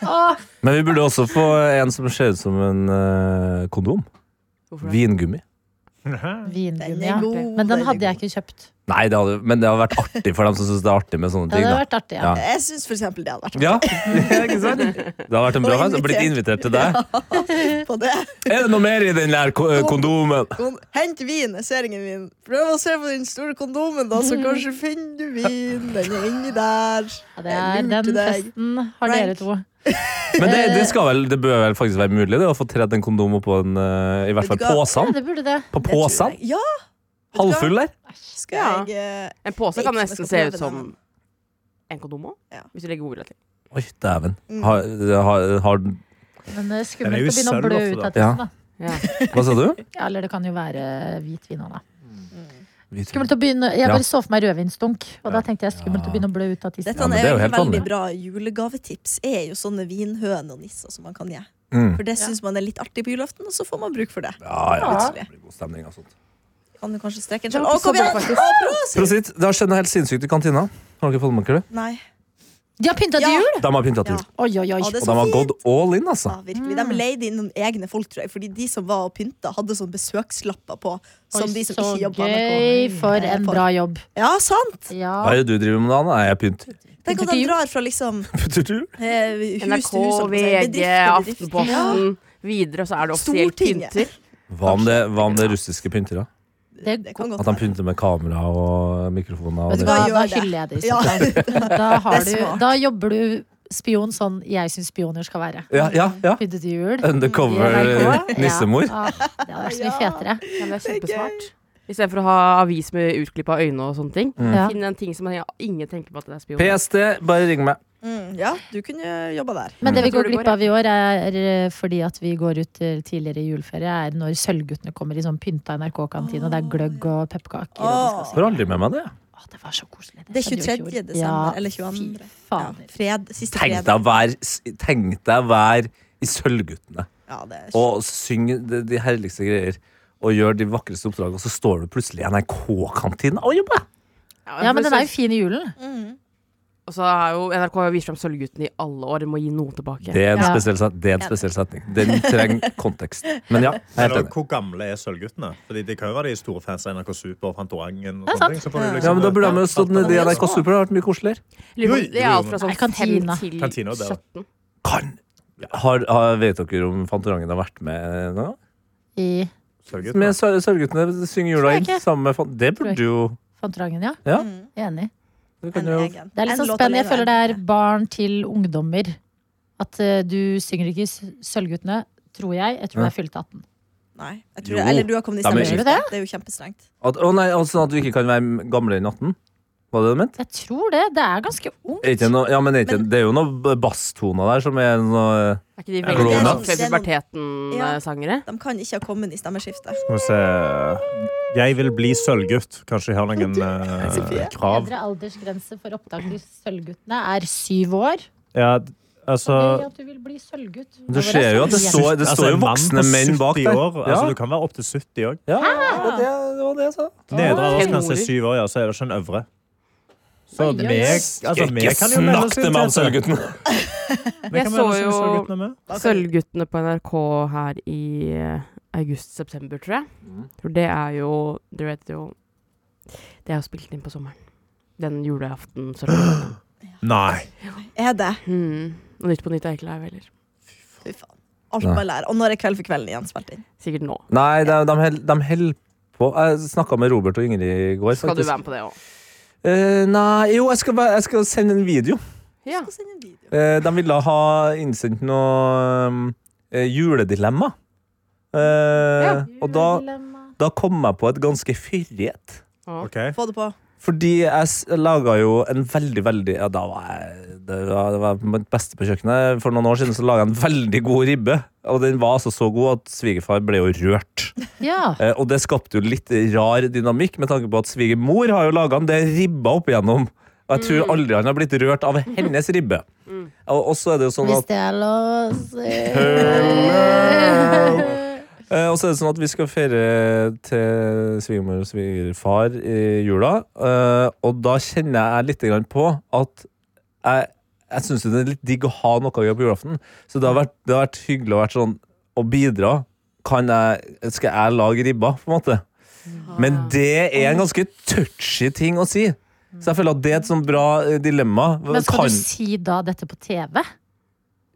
Speaker 7: Åh,
Speaker 2: Men vi burde også få en som ser ut som en eh, kondom.
Speaker 4: Hvorfor det?
Speaker 2: Vingummi.
Speaker 5: Den
Speaker 7: vingummi,
Speaker 5: er
Speaker 7: ja.
Speaker 5: god.
Speaker 7: Men den hadde
Speaker 5: er
Speaker 7: jeg ikke kjøpt.
Speaker 2: Nei, det hadde, men det har vært artig for dem som syns det er artig med sånne
Speaker 7: Ja, det
Speaker 2: ting.
Speaker 7: hadde
Speaker 2: Da.
Speaker 7: vært artig.
Speaker 2: Ja.
Speaker 7: Ja.
Speaker 5: god. Jeg syns for eksempel det hadde vært
Speaker 2: Ja, ikke sant? Det har vært en bra
Speaker 5: Og
Speaker 2: fest. og Blitt invitert til deg.
Speaker 5: på det.
Speaker 2: Er det noe mer i den der ko- eh, kondomen?
Speaker 5: Kon- Hent vin, jeg ser ingen vin. Prøv å se på den store kondomen, da, så kanskje finner du vin. Den er inni der.
Speaker 7: Ja, det er,
Speaker 5: Jeg lurte
Speaker 7: den
Speaker 5: deg.
Speaker 7: festen har dere
Speaker 5: Frank.
Speaker 7: to.
Speaker 2: Men det, det, skal vel, det bør vel faktisk være mulig det, å få tredd en kondom oppå en eh, I hvert fall
Speaker 5: Vet du hva?
Speaker 7: Ja,
Speaker 2: påsen.
Speaker 7: det burde det.
Speaker 2: På
Speaker 5: Det tror
Speaker 2: påsen?
Speaker 5: jeg. Ja,
Speaker 2: Halvfull der?
Speaker 4: Ja.
Speaker 5: skal jeg eh,
Speaker 4: En pose kan nesten se ut som en kondom òg,
Speaker 5: Ja.
Speaker 4: hvis du legger ordet til.
Speaker 2: Oi, dæven.
Speaker 5: Mm.
Speaker 2: Har, har, har
Speaker 7: Men eh, det er
Speaker 6: Den er
Speaker 7: skummelt
Speaker 6: jo
Speaker 7: å begynne å blø
Speaker 6: sølv
Speaker 7: ut
Speaker 6: også,
Speaker 7: av tissen. Da.
Speaker 2: Hva sa du?
Speaker 7: Ja, eller det kan jo være hvitvin òg, da.
Speaker 2: Hvit-
Speaker 7: Skummelt å begynne, jeg
Speaker 2: Ja.
Speaker 7: bare så for meg rødvinsdunk, og da tenkte jeg skummelt å begynne å blø ut av tissen.
Speaker 5: Dette
Speaker 2: Ja, men det er
Speaker 5: er jo
Speaker 2: jo
Speaker 5: en
Speaker 2: helt
Speaker 5: veldig
Speaker 2: vanlig.
Speaker 5: bra julegavetips. Er jo sånne vinhøner og nisser som man kan gjøre.
Speaker 2: Mm.
Speaker 5: For det syns man er litt artig på julaften, og så får man bruk for det.
Speaker 2: Ja, ja.
Speaker 5: Plutselig.
Speaker 2: Det blir god stemning av sånt.
Speaker 5: Kan du kanskje strekke en
Speaker 4: Det
Speaker 5: sjøl?
Speaker 4: var
Speaker 5: Å,
Speaker 4: ikke så
Speaker 5: kom
Speaker 4: bra,
Speaker 5: igjen!
Speaker 4: faktisk.
Speaker 5: Å, prosit!
Speaker 2: Prosit, det har skjedd noe helt sinnssykt i kantina. Har dere fått med dere det?
Speaker 5: Nei.
Speaker 7: De har pynta til
Speaker 5: Ja.
Speaker 7: jul!
Speaker 2: De har pynta til.
Speaker 5: Ja.
Speaker 7: Oi, oi, oi.
Speaker 5: Å, det
Speaker 2: Og
Speaker 5: er
Speaker 2: de
Speaker 5: så
Speaker 2: har
Speaker 5: fint.
Speaker 2: gått all in, altså.
Speaker 5: Ja, virkelig.
Speaker 4: Mm.
Speaker 5: De leide inn noen egne folk, tror jeg. Fordi de som var og pynta, hadde sånne besøkslapper på. Som
Speaker 7: Oi,
Speaker 5: de som
Speaker 7: så
Speaker 5: ikke jobba
Speaker 7: gøy for en bra jobb.
Speaker 5: Ja, sant!
Speaker 7: Ja.
Speaker 2: Hva er det du driver med da? Nei, jeg pynter.
Speaker 5: Tenk at de drar fra liksom
Speaker 2: Pynter du?
Speaker 5: eh, hus til hus.
Speaker 4: NRK,
Speaker 5: holdt jeg på å si. Bedrift
Speaker 4: VG,
Speaker 5: til bedrift.
Speaker 4: Aftenposten, videre, og så er det offisielt
Speaker 5: Stortinget.
Speaker 4: pynter.
Speaker 2: Hva om det, hva om det er russiske pynter, da?
Speaker 5: Ja, det kan
Speaker 2: At
Speaker 5: godt
Speaker 2: de
Speaker 5: være.
Speaker 2: pynter med kamera og mikrofoner og
Speaker 5: Vet du
Speaker 7: Da,
Speaker 2: det.
Speaker 7: da
Speaker 5: hva? gjør det.
Speaker 7: hyller jeg det i
Speaker 5: Ja.
Speaker 7: så fall. Da, har
Speaker 5: Det er
Speaker 7: du,
Speaker 5: smart.
Speaker 7: da jobber du spion sånn jeg syns spioner skal være.
Speaker 2: Ja, ja, ja.
Speaker 7: Pynte til jul.
Speaker 2: Undercover
Speaker 7: Ja.
Speaker 2: eh, nissemor.
Speaker 7: Ah, det hadde vært så mye fetere.
Speaker 4: Ja, det er kjempesmart. Istedenfor å ha avis med utklipp av øyne og sånne ting.
Speaker 7: Ja.
Speaker 4: Finn en ting som man- ingen tenker på at det er spion.
Speaker 2: PST, bare ring meg.
Speaker 5: Mm, ja, du kunne jobba der.
Speaker 7: Men det vi
Speaker 4: Jeg tror
Speaker 7: går
Speaker 4: det
Speaker 7: glipp
Speaker 4: går,
Speaker 7: av i år, er eh, fordi at vi går ut eh, tidligere i juleferie, er når Sølvguttene kommer i sånn pynta NRK-kantine, og
Speaker 5: Ah.
Speaker 7: det er gløgg og pepperkaker. og de skal si-
Speaker 2: Får aldri med meg det.
Speaker 7: Å, det var så koselig.
Speaker 5: Det er
Speaker 7: skjedde jo i
Speaker 5: 23.
Speaker 7: fjor.
Speaker 5: desember, eller
Speaker 7: Fy
Speaker 5: 22.. Ja,
Speaker 7: fader.
Speaker 5: fred, siste
Speaker 2: Tenk
Speaker 5: fredag.
Speaker 2: deg å være s- tenk deg å være i Sølvguttene
Speaker 5: Ja, det er
Speaker 2: og synge de, de herligste greier. og gjør de vakreste oppdragene, og så står du plutselig i NRK-kantina og jobber!
Speaker 7: Ja, men den er jo fin i julen.
Speaker 5: Mm,
Speaker 4: Og så har jo NRK har jo vist fram Sølvgutten i alle år. De må gi noe tilbake.
Speaker 2: Det er en
Speaker 7: Ja.
Speaker 2: spesiell, set- det er en spesiell setning. Den trenger kontekst. Men ja, jeg er helt
Speaker 9: Men
Speaker 2: enig.
Speaker 9: også, hvor gamle er Sølvguttene? Fordi De kan jo være de store fans av NRK Super og Fantorangen. Og
Speaker 7: Det er
Speaker 9: sånne ting, så får du
Speaker 5: Ja.
Speaker 9: liksom,
Speaker 2: Ja, men Da burde de jo stått nedi NRK Super. Det hadde vært mye koseligere.
Speaker 4: Lurer på-
Speaker 9: Jo,
Speaker 4: Det er alt fra
Speaker 7: Nei,
Speaker 4: sånn
Speaker 7: kantina.
Speaker 4: 5 til
Speaker 9: Kantina, det er det.
Speaker 4: 17.
Speaker 2: Kan har, har, Vet dere om Fantorangen har vært med nå?
Speaker 7: I
Speaker 9: Sølvguttene.
Speaker 2: Med Sø- Sørguttene synger jula inn
Speaker 7: jeg ikke.
Speaker 2: sammen med Fan- Det burde jo
Speaker 7: Fantorangen, ja.
Speaker 2: Ja.
Speaker 7: Mm. Enig.
Speaker 2: det kan
Speaker 5: En
Speaker 2: jo-
Speaker 5: egen.
Speaker 7: Det er
Speaker 5: En
Speaker 7: litt sånn spennende.
Speaker 5: låt
Speaker 7: Jeg
Speaker 5: alene.
Speaker 7: føler det er barn til ungdommer. At eh, du synger ikke s- Sølvguttene, tror jeg. Jeg tror jeg fylte 18.
Speaker 5: Nei, jeg tror
Speaker 2: Jo.
Speaker 5: det. Eller du har kommet i
Speaker 2: Da må-
Speaker 5: stemmeskiftet.
Speaker 7: Gjør
Speaker 5: Det er jo kjempestrengt.
Speaker 2: at, Å nei, altså at du ikke kan være gamlere enn 18? Var det det du mente?
Speaker 7: Jeg tror det. Det er ganske ungt.
Speaker 2: Er ikke noe, ja, men er ikke, det er jo noen b- basstoner der som er noe eh,
Speaker 4: Er ikke de
Speaker 2: Ja, det
Speaker 4: veldig
Speaker 2: er
Speaker 4: sånn
Speaker 2: noe-
Speaker 4: før
Speaker 5: det er noe- Ja.
Speaker 4: puberteten-sangere?
Speaker 5: De kan ikke ha kommet i stemmeskiftet.
Speaker 6: Skal vi se Jeg vil bli sølvgutt. Kanskje jeg har noen eh,
Speaker 5: Sofie.
Speaker 6: krav.
Speaker 7: Bedre aldersgrense for opptak til Sølvguttene er syv år.
Speaker 6: Ja, d- altså
Speaker 7: Eller at du vil bli sølvgutt.
Speaker 2: Du ser jo at det står, det
Speaker 6: altså,
Speaker 2: står jo
Speaker 6: en mann
Speaker 2: voksne
Speaker 6: på
Speaker 2: menn bak
Speaker 6: 70
Speaker 2: der.
Speaker 6: År, altså,
Speaker 2: Ja.
Speaker 6: Du kan være opptil 70 òg.
Speaker 4: Ah.
Speaker 2: Ja, det var det- det var det jeg sa.
Speaker 6: Nedre aldersgrense er
Speaker 4: Tenorer.
Speaker 6: syv år, ja, så er det ikke en øvre. Så
Speaker 7: Oi,
Speaker 6: vi
Speaker 7: oi, oi.
Speaker 6: altså, vi kan jo melde oss inn til
Speaker 2: altså.
Speaker 6: dette. Vi
Speaker 4: Jeg
Speaker 6: kan
Speaker 4: så
Speaker 6: melde oss inn i
Speaker 4: jo-
Speaker 6: Sølvguttene med.
Speaker 5: Da kan-
Speaker 4: Sølvguttene på NRK her i eh, august-september, tror jeg. For det er jo Du vet jo Det er jo spilt inn på sommeren. Den julaften. Sølvguttene.
Speaker 6: Nei.
Speaker 5: Er det?
Speaker 4: Hmm. Og Nytt på Nytt er ikke live heller.
Speaker 5: Fy faen. Alt man lærer. Og når er Kveld for kvelden igjen spilt inn?
Speaker 4: Sikkert nå.
Speaker 2: Nei, de, de, held, de held på Jeg snakka med Robert og Ingrid i går.
Speaker 4: Skal du
Speaker 2: faktisk.
Speaker 4: være med på det òg?
Speaker 2: Eh, nei, jo, jeg skal, bare- jeg skal sende en video.
Speaker 4: Ja.
Speaker 5: Skal sende en video.
Speaker 2: Eh, de ville ha innsendt noe um, eh, juledilemma. Eh, Og da, da kom jeg på et ganske fyrig et.
Speaker 6: Ok.
Speaker 5: Få det på.
Speaker 2: Fordi jeg s- laga jo en veldig, veldig ja, Da var jeg det var, det var mitt beste på kjøkkenet. For noen år siden så laga jeg en veldig god ribbe. Og den var altså så god at svigerfar ble jo rørt.
Speaker 7: Ja.
Speaker 2: Eh, og det skapte jo litt rar dynamikk, med tanke på at svigermor har jo laga en del ribber opp igjennom. Og jeg tror aldri han har blitt rørt av hennes ribbe. Og, og så er det jo sånn
Speaker 7: Hvis
Speaker 2: at
Speaker 7: det er lov å si.
Speaker 2: eh, Og så er det sånn at vi skal feire til svigermor og svigerfar i jula. Eh, og da kjenner jeg litt grann på at jeg, jeg syns det er litt digg å ha noe å gjøre på julaften. Så det har vært, det har vært hyggelig å være sånn å bidra. Kan jeg, skal jeg lage ribba, på en måte? Men det er en ganske touchy ting å si. Så jeg føler at det er et sånn bra eh, dilemma.
Speaker 7: Men skal
Speaker 2: Kan-
Speaker 7: du si da dette på TV?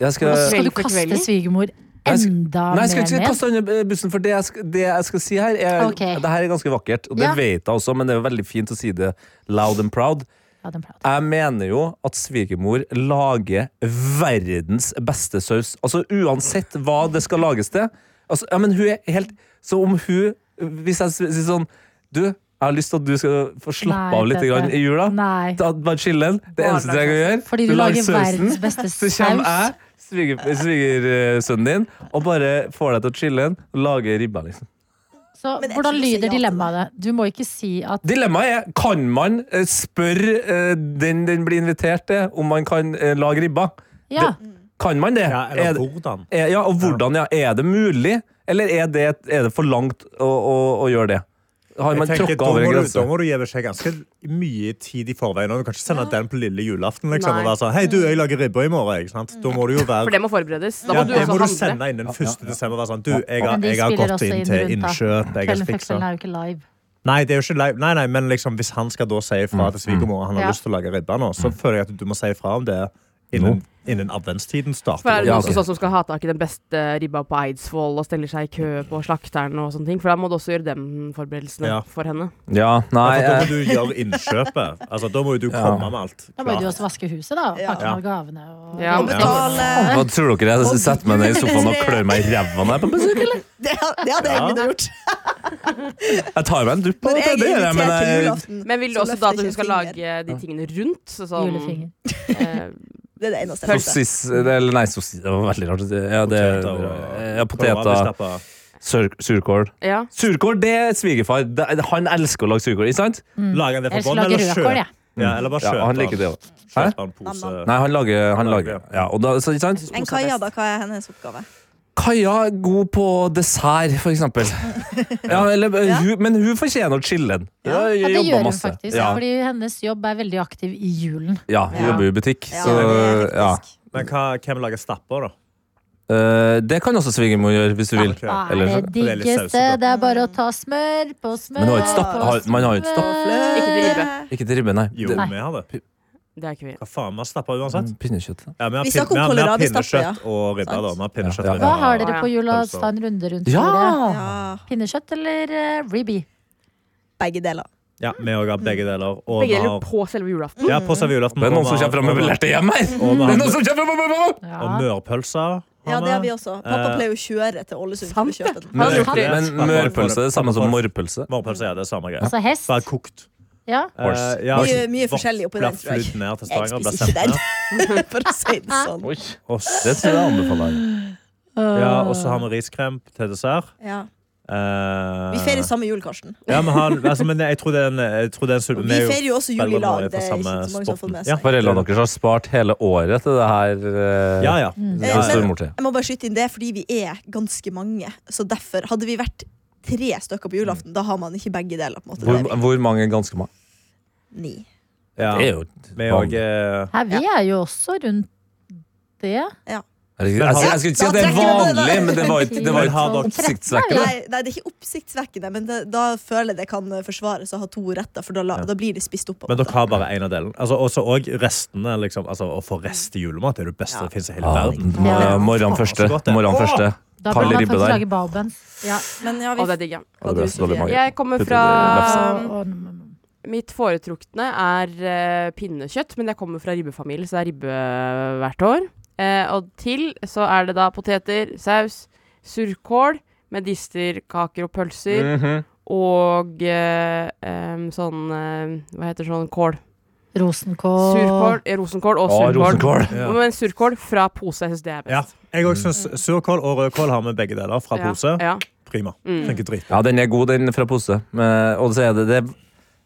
Speaker 2: jeg skal,
Speaker 7: Skal du
Speaker 4: Kveld for
Speaker 7: kaste
Speaker 4: kvelden?
Speaker 7: svigermor
Speaker 2: Jeg skal-
Speaker 7: enda
Speaker 2: Nei, jeg skal
Speaker 7: mer
Speaker 2: ikke
Speaker 7: ned?
Speaker 2: kaste han under bussen, for det jeg skal, det jeg skal si her, er,
Speaker 7: Ok.
Speaker 2: det her er ganske vakkert. Og det
Speaker 7: Ja.
Speaker 2: vet jeg også, men det er veldig fint å si det loud and proud.
Speaker 7: Ja, den praten.
Speaker 2: Jeg mener jo at svigermor lager verdens beste saus. Altså uansett hva det skal lages til. Altså, ja, men hun er helt Så om hun Hvis jeg sier sånn Du, jeg har lyst til at du skal få slappe
Speaker 7: Nei,
Speaker 2: av litt
Speaker 7: Petter.
Speaker 2: grann i jula.
Speaker 7: Nei.
Speaker 2: Ta bare chillen. Det eneste du trenger å gjøre,
Speaker 7: Fordi du lager verdens beste
Speaker 2: så kommer jeg,
Speaker 7: saus.
Speaker 2: sviger- svigersønnen din, og bare får deg til å chille en og lage ribba, liksom.
Speaker 7: Så
Speaker 5: Men jeg
Speaker 7: hvordan
Speaker 5: tror du sier ja
Speaker 7: lyder
Speaker 5: til
Speaker 7: dilemmaet? Du må ikke si at
Speaker 2: Dilemmaet er kan man eh, spørre eh, den den blir invitert til, om man kan eh, lage ribba.
Speaker 7: Ja,
Speaker 2: Kan man det?
Speaker 6: Ja,
Speaker 2: Er
Speaker 6: eller
Speaker 2: det-
Speaker 6: hvordan?
Speaker 2: er, ja, og hvordan, ja. Er det mulig, eller er det, er det for langt å, å, å gjøre det? Har man
Speaker 6: Jeg tenker,
Speaker 2: tråkka
Speaker 6: da,
Speaker 2: over
Speaker 6: må
Speaker 2: en
Speaker 6: du, da
Speaker 2: grense?
Speaker 6: må du gi beskjed ganske mye tid i forveien. Og du kan ikke sende den på lille julaften liksom,
Speaker 4: Nei.
Speaker 6: og være sånn Hei, du, jeg lager ribbe i morgen. Ikke sant? Da må du
Speaker 4: For
Speaker 6: jo være
Speaker 4: det må forberedes. Da må
Speaker 6: ja,
Speaker 4: du
Speaker 6: det må du
Speaker 4: også handle.
Speaker 6: sende inn den 1. desember. og Være sånn, du, jeg har,
Speaker 7: Men de
Speaker 6: jeg har
Speaker 7: spiller
Speaker 6: gått
Speaker 7: også
Speaker 6: inn
Speaker 7: inn
Speaker 6: til
Speaker 7: rundt, da.
Speaker 6: innkjøp. Jeg har
Speaker 7: Kvelden før kvelden
Speaker 6: fiksa
Speaker 7: er jo ikke live.
Speaker 6: Nei, det er jo ikke live. Nei, nei, men liksom, hvis han skal da si ifra
Speaker 2: Mm.
Speaker 6: til svigermor han har
Speaker 7: Ja.
Speaker 6: lyst til å lage ribbe nå, så føler jeg at du må si ifra om det innen, innen adventstiden
Speaker 4: For er
Speaker 6: starter.
Speaker 4: det
Speaker 2: Ja,
Speaker 4: noen
Speaker 2: ok.
Speaker 4: som- som skal ha tak i den beste ribba på Eidsvoll og stiller seg i kø på slakteren og sånne ting? For da må du også gjøre dem forberedelsene
Speaker 6: Ja.
Speaker 4: for henne.
Speaker 2: Ja, nei
Speaker 6: Altså, da
Speaker 2: eh,
Speaker 6: må du gjøre innkjøpet. Altså, da må jo du komme med alt.
Speaker 7: Da må jo du
Speaker 6: klart.
Speaker 7: også vaske huset, da. og Pakke
Speaker 6: Ja.
Speaker 7: med gavene. Og...
Speaker 4: Ja,
Speaker 5: Må
Speaker 4: men-
Speaker 5: betale
Speaker 2: eh, Hva tror dere jeg setter meg ned i sofaen og klør meg i ræva når jeg er på besøk? eller?
Speaker 5: Det hadde det hadde jeg egentlig gjort.
Speaker 2: Jeg tar meg en dupp av
Speaker 5: Men
Speaker 2: det,
Speaker 5: jeg er
Speaker 2: det gjør jeg, men
Speaker 5: invitert til
Speaker 2: jeg
Speaker 5: julaften.
Speaker 4: Men vil du
Speaker 5: så
Speaker 4: også da at
Speaker 5: løfter
Speaker 4: hun
Speaker 5: ikke
Speaker 4: skal
Speaker 5: en finger.
Speaker 4: lage de tingene rundt? Så sånn
Speaker 7: Julefinger.
Speaker 4: eh,
Speaker 5: Det er det eneste jeg vet.
Speaker 2: Sossis Eller nei, sossis Det var veldig rart. Ja, det, ja, poteter,
Speaker 6: Poteter.
Speaker 2: sur, surkål.
Speaker 4: Ja.
Speaker 2: Surkål, det er svigerfar. Det- Han elsker å lage surkål, ikke sant?
Speaker 6: Lager han det
Speaker 7: Jeg
Speaker 6: fra
Speaker 7: skal
Speaker 6: bånn,
Speaker 7: lage
Speaker 6: eller
Speaker 7: rødkål,
Speaker 6: kjøper
Speaker 7: jeg.
Speaker 6: ja, Eller bare
Speaker 2: Ja,
Speaker 6: kjøper
Speaker 2: han liker det også. Hæ?
Speaker 6: Kjøper en pose.
Speaker 2: Nei, han lager, han lager. Ja, og da, så, ikke sant?
Speaker 5: Men Kaja, da? Hva er hennes oppgave?
Speaker 2: Kaja er god på dessert, for eksempel. Ja, eller,
Speaker 5: Ja.
Speaker 2: Hun, men hun fortjener chillen. Ja,
Speaker 7: Ja, det gjør hun
Speaker 2: masse.
Speaker 7: faktisk,
Speaker 2: Ja,
Speaker 7: fordi hennes jobb er veldig aktiv i julen.
Speaker 2: ja hun
Speaker 4: Ja.
Speaker 2: jobber i butikk,
Speaker 5: Ja,
Speaker 2: så
Speaker 5: det er
Speaker 2: ja.
Speaker 5: hektisk.
Speaker 9: Men hva, hvem lager stapper, da?
Speaker 2: Eh, det kan også svigermor gjøre, hvis du vil.
Speaker 9: Ok.
Speaker 7: Hva
Speaker 2: Eller
Speaker 7: er
Speaker 2: så-
Speaker 7: det
Speaker 9: det er litt
Speaker 7: diggeste?
Speaker 9: sausete.
Speaker 7: Det er bare å ta smør på smør.
Speaker 2: Men har ikke stapp-
Speaker 7: på
Speaker 2: har- man har ikke stapp.
Speaker 7: smør.
Speaker 4: Ikke til ribbe.
Speaker 2: Ikke til ribbe, nei.
Speaker 9: Jo,
Speaker 2: Det-
Speaker 9: vi har det.
Speaker 4: Det er ikke vi.
Speaker 9: Hva faen, vi har stapper
Speaker 2: Mm.
Speaker 9: uansett.
Speaker 2: Pinnekjøtt.
Speaker 9: Ja, vi har,
Speaker 5: Vi
Speaker 9: pin,
Speaker 5: snakker
Speaker 9: vi
Speaker 5: om
Speaker 9: har, vi har
Speaker 5: kålrabi-stapper, ja.
Speaker 9: pinnekjøtt og ribbe. da. Vi har pinnekjøtt
Speaker 2: Ja,
Speaker 9: og ribbe.
Speaker 2: ja. Altså.
Speaker 7: Hva har dere på jul og
Speaker 9: Pølser.
Speaker 7: ta en runde rundt
Speaker 2: Ja!
Speaker 7: bordet?
Speaker 5: Ja,
Speaker 7: Pinnekjøtt eller eh, ribbe?
Speaker 5: begge deler.
Speaker 9: Ja, vi òg har begge deler. Og vi
Speaker 4: Begge
Speaker 9: har
Speaker 4: deler på selve julaften.
Speaker 9: ja, på seg julaften.
Speaker 2: Det er
Speaker 9: og
Speaker 2: noen som
Speaker 9: vi har-
Speaker 2: kommer fra møblerte hjem her!
Speaker 9: Og vi
Speaker 2: Det er
Speaker 9: har
Speaker 2: noen som kommer fra møblerte
Speaker 9: Og mørpølser.
Speaker 5: Ja, det har vi
Speaker 9: også.
Speaker 5: også. Pappa
Speaker 9: Eh,
Speaker 5: pleier jo å kjøre til Ålesund for
Speaker 4: Sant
Speaker 5: å kjøpe den.
Speaker 4: Har du gjort det?
Speaker 2: Men mørpølse er det samme som morrpølse.
Speaker 9: Morpølser ja, det er samme greie.
Speaker 7: Altså hest?
Speaker 9: Bare kokt.
Speaker 7: Ja.
Speaker 2: Horse.
Speaker 9: Eh, ja,
Speaker 5: Mye- mye
Speaker 9: vårt
Speaker 5: forskjellig oppi
Speaker 9: ble
Speaker 5: den, tror jeg.
Speaker 9: flydd ned til
Speaker 5: Jeg
Speaker 9: Stavanger, ble
Speaker 5: spiser
Speaker 9: sendt
Speaker 5: ikke
Speaker 9: ned.
Speaker 5: den, for å si det sånn.
Speaker 9: Og s-
Speaker 2: Det tror jeg anbefaler.
Speaker 9: ja, og så har vi riskrem til dessert.
Speaker 5: Ja.
Speaker 9: Eh,
Speaker 5: Vi feirer samme jul, Karsten.
Speaker 9: Ja, men, han, altså, men jeg tror det er en jeg tror det er en sulten
Speaker 5: Vi feirer jo også jul i
Speaker 9: Bergamo
Speaker 5: lag.
Speaker 9: er
Speaker 5: Det
Speaker 9: fra
Speaker 5: er ikke så
Speaker 9: samme
Speaker 5: mange som har fått med
Speaker 9: spotten.
Speaker 5: seg.
Speaker 2: Foreldrene deres har spart hele året til det her. eh,
Speaker 9: Ja, ja.
Speaker 2: til
Speaker 5: Eh, men-
Speaker 2: stormor til.
Speaker 5: Jeg må bare skyte inn det, er fordi vi er ganske mange. Så derfor, hadde vi vært tre stykker på julaften, da har man ikke begge deler. på en måte.
Speaker 2: Hvor,
Speaker 5: Det er
Speaker 2: hvor mange er ganske mange?
Speaker 5: Ni.
Speaker 9: ja.
Speaker 2: Det er jo
Speaker 9: Vi er også, eh,
Speaker 7: Her, vi er jo også rundt det.
Speaker 2: Jeg, jeg, jeg skulle ikke si at det er vanlig, men det var, ikke- det var
Speaker 7: Men har dere-
Speaker 2: oppsiktsvekkende.
Speaker 5: Nei, nei, det er ikke oppsiktsvekkende, men det, da føler jeg det kan eh, forsvares å ha to retter, for da, la,
Speaker 9: Ja.
Speaker 5: da blir de spist opp. av
Speaker 9: men dere
Speaker 5: hverandre.
Speaker 9: har bare én av delene. Altså, også, og restene. Liksom, altså, å få rest til julemat er det beste
Speaker 5: Ja.
Speaker 9: det fins i hele
Speaker 2: Ja,
Speaker 9: verden.
Speaker 2: mor- morgenen første. Morgenen første.
Speaker 7: Da
Speaker 2: Kald
Speaker 7: bør man
Speaker 2: ribbe
Speaker 7: faktisk
Speaker 2: der.
Speaker 7: lage baobens. Ja.
Speaker 5: men ja,
Speaker 4: Å,
Speaker 5: vi,
Speaker 4: det er digg, ja.
Speaker 5: hva
Speaker 2: Ja, det er
Speaker 5: du,
Speaker 2: så dårlig
Speaker 5: Sofie?
Speaker 2: mage.
Speaker 4: Jeg kommer
Speaker 2: Putter
Speaker 4: fra
Speaker 2: det
Speaker 7: Og- og-
Speaker 4: Mitt foretrukne er eh, pinnekjøtt, men jeg kommer fra ribbefamilie, så det er ribbe hvert år. Eh, og til så er det da poteter, saus, surkål, medisterkaker og pølser, og eh, em, sånn eh, Hva heter sånn kål?
Speaker 7: Rosenkål.
Speaker 4: Surkål, eh, rosenkål og
Speaker 2: Å,
Speaker 4: surkål.
Speaker 2: rosenkål!
Speaker 9: Ja.
Speaker 4: Men surkål fra pose, jeg syns det er
Speaker 9: Ja.
Speaker 4: best.
Speaker 9: Jeg òg syns surkål og rødkål har vi begge deler fra pose.
Speaker 4: Ja.
Speaker 9: Prima.
Speaker 4: Mm.
Speaker 9: Funker drit.
Speaker 2: Ja, den er god, den fra pose. Men, og så er det, det,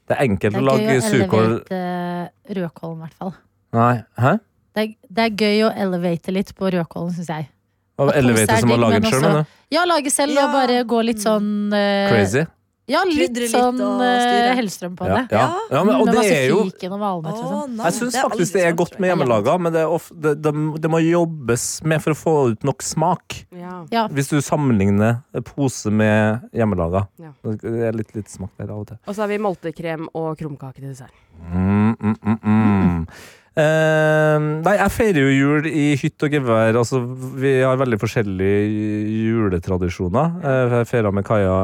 Speaker 2: det er enkelt
Speaker 7: Det
Speaker 2: å
Speaker 7: er gøy
Speaker 2: lage
Speaker 7: å
Speaker 2: surkål
Speaker 7: elevate eh, rødkålen, i hvert fall.
Speaker 2: Nei, hæ?
Speaker 7: Det er, det er gøy å elevate litt på rødkålen, syns jeg.
Speaker 2: Å
Speaker 7: pose
Speaker 2: Elevate
Speaker 7: er
Speaker 2: som å
Speaker 7: digg,
Speaker 2: lage
Speaker 7: men
Speaker 2: den sjøl,
Speaker 7: også-
Speaker 2: mener du?
Speaker 7: Ja, lage selv og
Speaker 5: Ja.
Speaker 7: bare gå litt sånn eh,
Speaker 2: Crazy?
Speaker 7: Ja, litt
Speaker 5: Krydre litt
Speaker 7: sånn
Speaker 5: og
Speaker 7: eh,
Speaker 5: styre.
Speaker 7: Hellstrøm på
Speaker 2: Ja,
Speaker 7: det.
Speaker 2: ja. ja men, og
Speaker 7: Med
Speaker 2: det
Speaker 7: masse
Speaker 2: er jo
Speaker 7: fiken og valnøtt, liksom.
Speaker 5: Å, nei,
Speaker 2: Jeg syns
Speaker 5: det har
Speaker 2: faktisk
Speaker 5: aldri
Speaker 2: det er
Speaker 5: smakt,
Speaker 2: godt
Speaker 5: tror
Speaker 2: med
Speaker 5: jeg.
Speaker 2: hjemmelaga, men det, er of, det, det, det må jobbes med for å få ut nok smak.
Speaker 4: Ja.
Speaker 7: Ja.
Speaker 2: Hvis du sammenligner pose med hjemmelaga.
Speaker 4: Ja.
Speaker 2: Det er litt, litt smak der av og til.
Speaker 4: Og så har vi moltekrem og krumkake til dessert.
Speaker 2: Mm, mm, mm, mm. Eh, nei, jeg feirer jo jul i hytt og gevær. Altså, vi har veldig forskjellige juletradisjoner. Eh, jeg feira med Kaja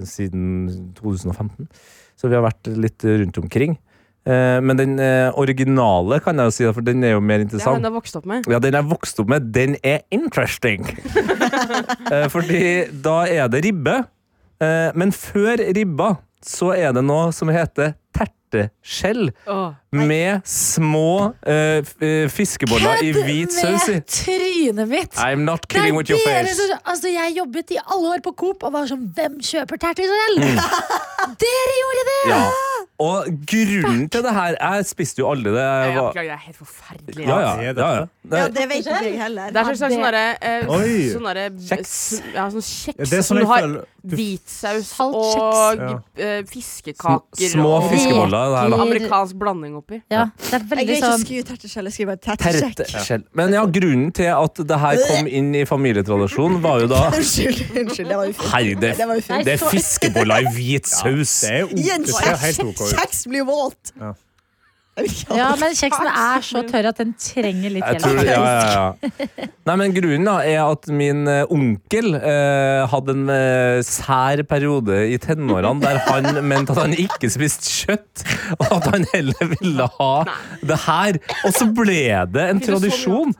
Speaker 2: eh, siden 2015, så vi har vært litt rundt omkring. Eh, men den eh, originale, kan jeg jo si, for den er jo mer
Speaker 4: Det har
Speaker 2: interessant.
Speaker 4: hun da vokst opp med.
Speaker 2: Ja, den jeg vokste opp med, den er interesting. Eh, Fordi da er det ribbe. Eh, Men før ribba så er det noe som heter terteskjell
Speaker 4: Åh.
Speaker 2: med små eh, f- eh, fiskeboller i hvit saus i.
Speaker 7: Med trynet mitt!
Speaker 2: I'm not kidding with your
Speaker 7: dere
Speaker 2: face.
Speaker 7: som- altså, jeg jobbet i alle år på Coop og var sånn Hvem kjøper tertelskjell? dere gjorde det!
Speaker 2: Mm. Ja. Og grunnen til det her Jeg spiste jo aldri det.
Speaker 4: Jeg
Speaker 2: Jeg var,
Speaker 4: beklager, det er helt
Speaker 2: ja,
Speaker 4: forferdelig.
Speaker 2: ja,
Speaker 9: Hva er dette?
Speaker 2: ja, ja.
Speaker 5: Ja,
Speaker 2: Det-
Speaker 5: det vet ikke jeg heller.
Speaker 4: Det er sånn slags
Speaker 7: Ja,
Speaker 4: sånn derre eh,
Speaker 9: Oi.
Speaker 4: sånn derre
Speaker 2: Kjeks.
Speaker 4: s- Ja, sånn kjeks.
Speaker 9: Det er sånn
Speaker 4: som du
Speaker 9: jeg
Speaker 4: har
Speaker 9: føler
Speaker 4: hvitsaus
Speaker 7: Salt
Speaker 4: og
Speaker 9: kjeks.
Speaker 4: eh, fiskekaker
Speaker 2: Små
Speaker 4: og
Speaker 2: fiskeboller. Det her, da.
Speaker 4: amerikansk blanding oppi.
Speaker 7: Ja, det er
Speaker 5: Jeg
Speaker 7: veldig
Speaker 5: greier ikke å
Speaker 7: sånn
Speaker 5: skrive terteskjell, jeg skriver bare terteskjekk.
Speaker 2: Terteskjell. Men ja, grunnen til at det her kom inn i familietradisjonen, var jo da
Speaker 5: Unnskyld, unnskyld, det var ufint.
Speaker 2: Hei, det,
Speaker 5: Det var ufint.
Speaker 2: det er fiskeboller i hvit saus.
Speaker 9: Det er jo
Speaker 5: I en
Speaker 9: det ser helt OK
Speaker 5: kjeks,
Speaker 9: ut.
Speaker 5: kjeks blir jo våt!
Speaker 9: Ja.
Speaker 5: Jeg vil ikke ha
Speaker 7: Ja,
Speaker 5: det.
Speaker 7: men kjeksen er så tørr at den trenger litt
Speaker 2: Jeg tror,
Speaker 7: hjelp.
Speaker 2: ja, ja, ja. Nei, men Grunnen da er at min eh, onkel eh, hadde en eh, sær periode i tenårene der han mente at han ikke spiste kjøtt, og at han heller ville ha det her. Og så ble det en
Speaker 4: Fy, det er så mye
Speaker 2: tradisjon.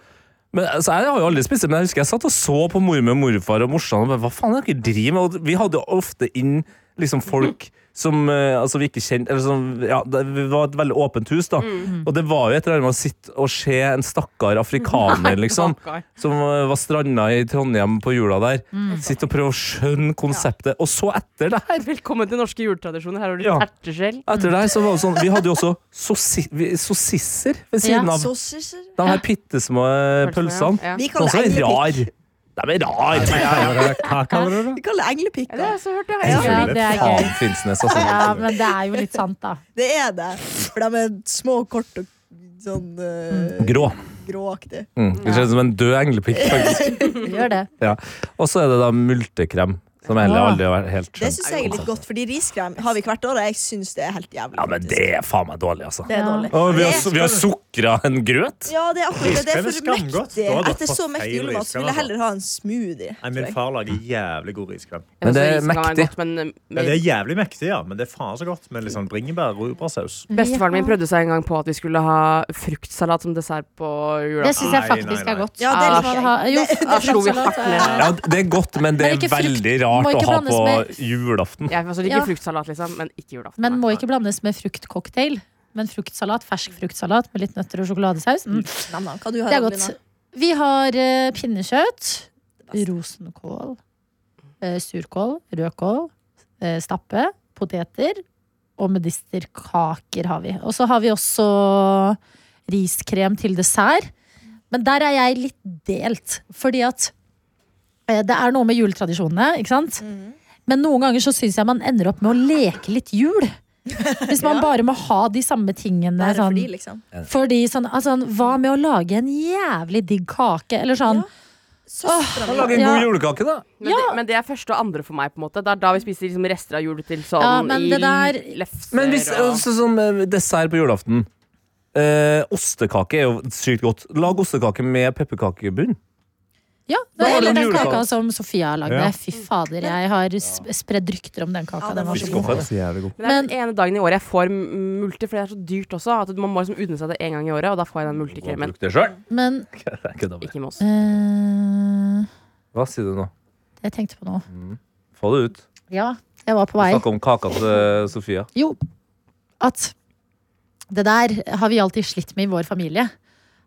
Speaker 2: Men, altså, jeg har jo aldri spist det, men jeg husker jeg satt og så på mormor, morfar og morsan og bare, hva faen er det dere driver med? Og vi hadde jo ofte inn liksom, folk som eh, altså, vi ikke kjente eller som, ja, det vi var et veldig åpent hus, da.
Speaker 4: Mm.
Speaker 2: Og det var jo et eller annet med å sitte og se en stakkar afrikaner, liksom,
Speaker 4: Stakkar.
Speaker 2: som eh, var stranda i Trondheim på jula der,
Speaker 4: Mm.
Speaker 2: sitte og prøve å skjønne konseptet. Og så etter det her
Speaker 4: Velkommen til norske juletradisjoner. Her har du
Speaker 2: Ja.
Speaker 4: terteskjell.
Speaker 2: etter det her så var det sånn, Vi hadde jo også sossi- vi- sossisser ved
Speaker 7: Ja,
Speaker 2: siden av
Speaker 5: Sausages?
Speaker 2: de her bittesmå
Speaker 4: Pølsene,
Speaker 2: Eh, pølsene.
Speaker 4: Ja.
Speaker 5: Vi
Speaker 2: Noe
Speaker 5: kaller
Speaker 2: som
Speaker 5: det
Speaker 2: er
Speaker 5: engepikk.
Speaker 2: rar. De er rare!
Speaker 9: Hva kaller du det?
Speaker 5: Vi kaller det
Speaker 4: Ja, det har
Speaker 5: englepikker.
Speaker 4: jeg også hørt, ja.
Speaker 7: Ja,
Speaker 9: Selvfølgelig.
Speaker 7: det er gøy.
Speaker 2: Faen, Finnsnes, altså.
Speaker 7: Ja, men det er jo litt sant, da.
Speaker 5: Det er det. For de er små, korte og sånn eh,
Speaker 2: Grå.
Speaker 5: gråaktige.
Speaker 2: Mm. Det ser ut som en død englepikk, faktisk.
Speaker 7: Det Gjør det.
Speaker 2: Og så er det da multekrem, som jeg heller
Speaker 7: Ja.
Speaker 2: aldri har vært helt
Speaker 5: Det
Speaker 2: skjønt.
Speaker 5: syns jeg er litt godt, fordi riskrem har vi hvert år, og jeg syns det er helt jævlig.
Speaker 2: Ja, men det er faen meg dårlig, altså.
Speaker 5: faktisk. det er
Speaker 7: Ja.
Speaker 5: dårlig.
Speaker 2: Å, vi
Speaker 5: Det
Speaker 2: har,
Speaker 5: er-
Speaker 2: vi har sukra en grøt?
Speaker 5: Ja, det er akkurat det. Det er
Speaker 9: Riskrem er
Speaker 5: for
Speaker 9: skamgodt.
Speaker 5: mektig.
Speaker 9: Da har du
Speaker 5: Etter
Speaker 9: fått
Speaker 5: så mektig
Speaker 9: feil
Speaker 5: julemat så vil jeg
Speaker 9: riskrem,
Speaker 5: heller ha en smoothie.
Speaker 9: Nei,
Speaker 5: tror
Speaker 9: min
Speaker 5: jeg.
Speaker 9: far lager jævlig god riskrem.
Speaker 2: Men det er
Speaker 4: Også is kan være
Speaker 2: mektig.
Speaker 4: godt, men,
Speaker 9: Ja, det er jævlig mektig, ja, men det er faen så godt med litt sånn bringebær og rugbrødsaus.
Speaker 4: Bestefaren min prøvde seg en gang på at vi skulle ha fruktsalat som dessert på
Speaker 7: Det
Speaker 4: julaften.
Speaker 7: syns jeg
Speaker 9: Nei,
Speaker 7: faktisk
Speaker 9: nei, nei.
Speaker 7: er godt.
Speaker 5: Ja, det liker jeg.
Speaker 7: Ha- Jo,
Speaker 4: Da slo vi hardt ned.
Speaker 2: Ja, det er godt, men det
Speaker 7: Men
Speaker 2: er
Speaker 7: ikke frukt.
Speaker 2: veldig
Speaker 7: Må
Speaker 2: rart å
Speaker 7: ikke
Speaker 2: ha
Speaker 7: blandes
Speaker 2: på
Speaker 7: med-
Speaker 2: julaften.
Speaker 4: Jeg altså, liker
Speaker 7: Ja.
Speaker 4: fruktsalat, liksom, men ikke julaften.
Speaker 7: Men
Speaker 4: nei.
Speaker 7: må ikke blandes med fruktcocktail. Men fruktsalat, fersk fruktsalat med litt nøtter og sjokoladesaus. Mm.
Speaker 5: Nam, nam. Hva du har
Speaker 7: Det er
Speaker 5: Adelina?
Speaker 7: godt. Vi har eh, pinnekjøtt, rosenkål, eh, surkål, rødkål, eh, stappe, poteter og medisterkaker har vi. Og så har vi også riskrem til dessert. Men der er jeg litt delt, fordi at eh, det er noe med juletradisjonene, ikke sant?
Speaker 5: Mm.
Speaker 7: Men noen ganger så syns jeg man ender opp med å leke litt jul. Hvis man bare må ha de samme tingene.
Speaker 5: Bare
Speaker 7: sånn,
Speaker 5: fordi, liksom.
Speaker 7: fordi sånn, altså, Hva med å lage en jævlig digg kake? Eller sånn.
Speaker 5: Søstera mi
Speaker 2: Lag en god julekake, da.
Speaker 4: Men, det, men det er første og andre for meg, på en måte. Det er da vi spiser liksom rester av jul til sånn
Speaker 7: Ja, men det der-
Speaker 4: i lefser
Speaker 2: Men hvis,
Speaker 4: og
Speaker 2: også sånn eh, dessert på julaften eh, Ostekake er jo sykt godt. Lag ostekake med pepperkakebunn.
Speaker 7: Ja,
Speaker 2: Da
Speaker 7: det
Speaker 2: har
Speaker 7: er
Speaker 2: du en
Speaker 7: den
Speaker 2: julekake.
Speaker 7: kaka som Sofia har lagd.
Speaker 9: Ja.
Speaker 7: Fy fader, jeg har sp spredd rykter om den kaka.
Speaker 5: Ja,
Speaker 7: den var så
Speaker 5: fin.
Speaker 7: god.
Speaker 2: Hvorfor?
Speaker 9: Så jævlig god.
Speaker 4: Men det er den ene dagen i året jeg får m- multer, for det er så dyrt også. At Man må liksom unne seg det en gang i året, og da får jeg den multekremen.
Speaker 2: Bruk det sjøl.
Speaker 7: Men
Speaker 4: Ikke med oss.
Speaker 7: Mm. eh,
Speaker 2: Hva sier du nå?
Speaker 7: jeg tenkte på noe.
Speaker 2: Få det ut.
Speaker 7: Ja, jeg var på vei.
Speaker 2: Snakk om kaka til eh, Sofia.
Speaker 7: Jo, at det der har vi alltid slitt med i vår familie.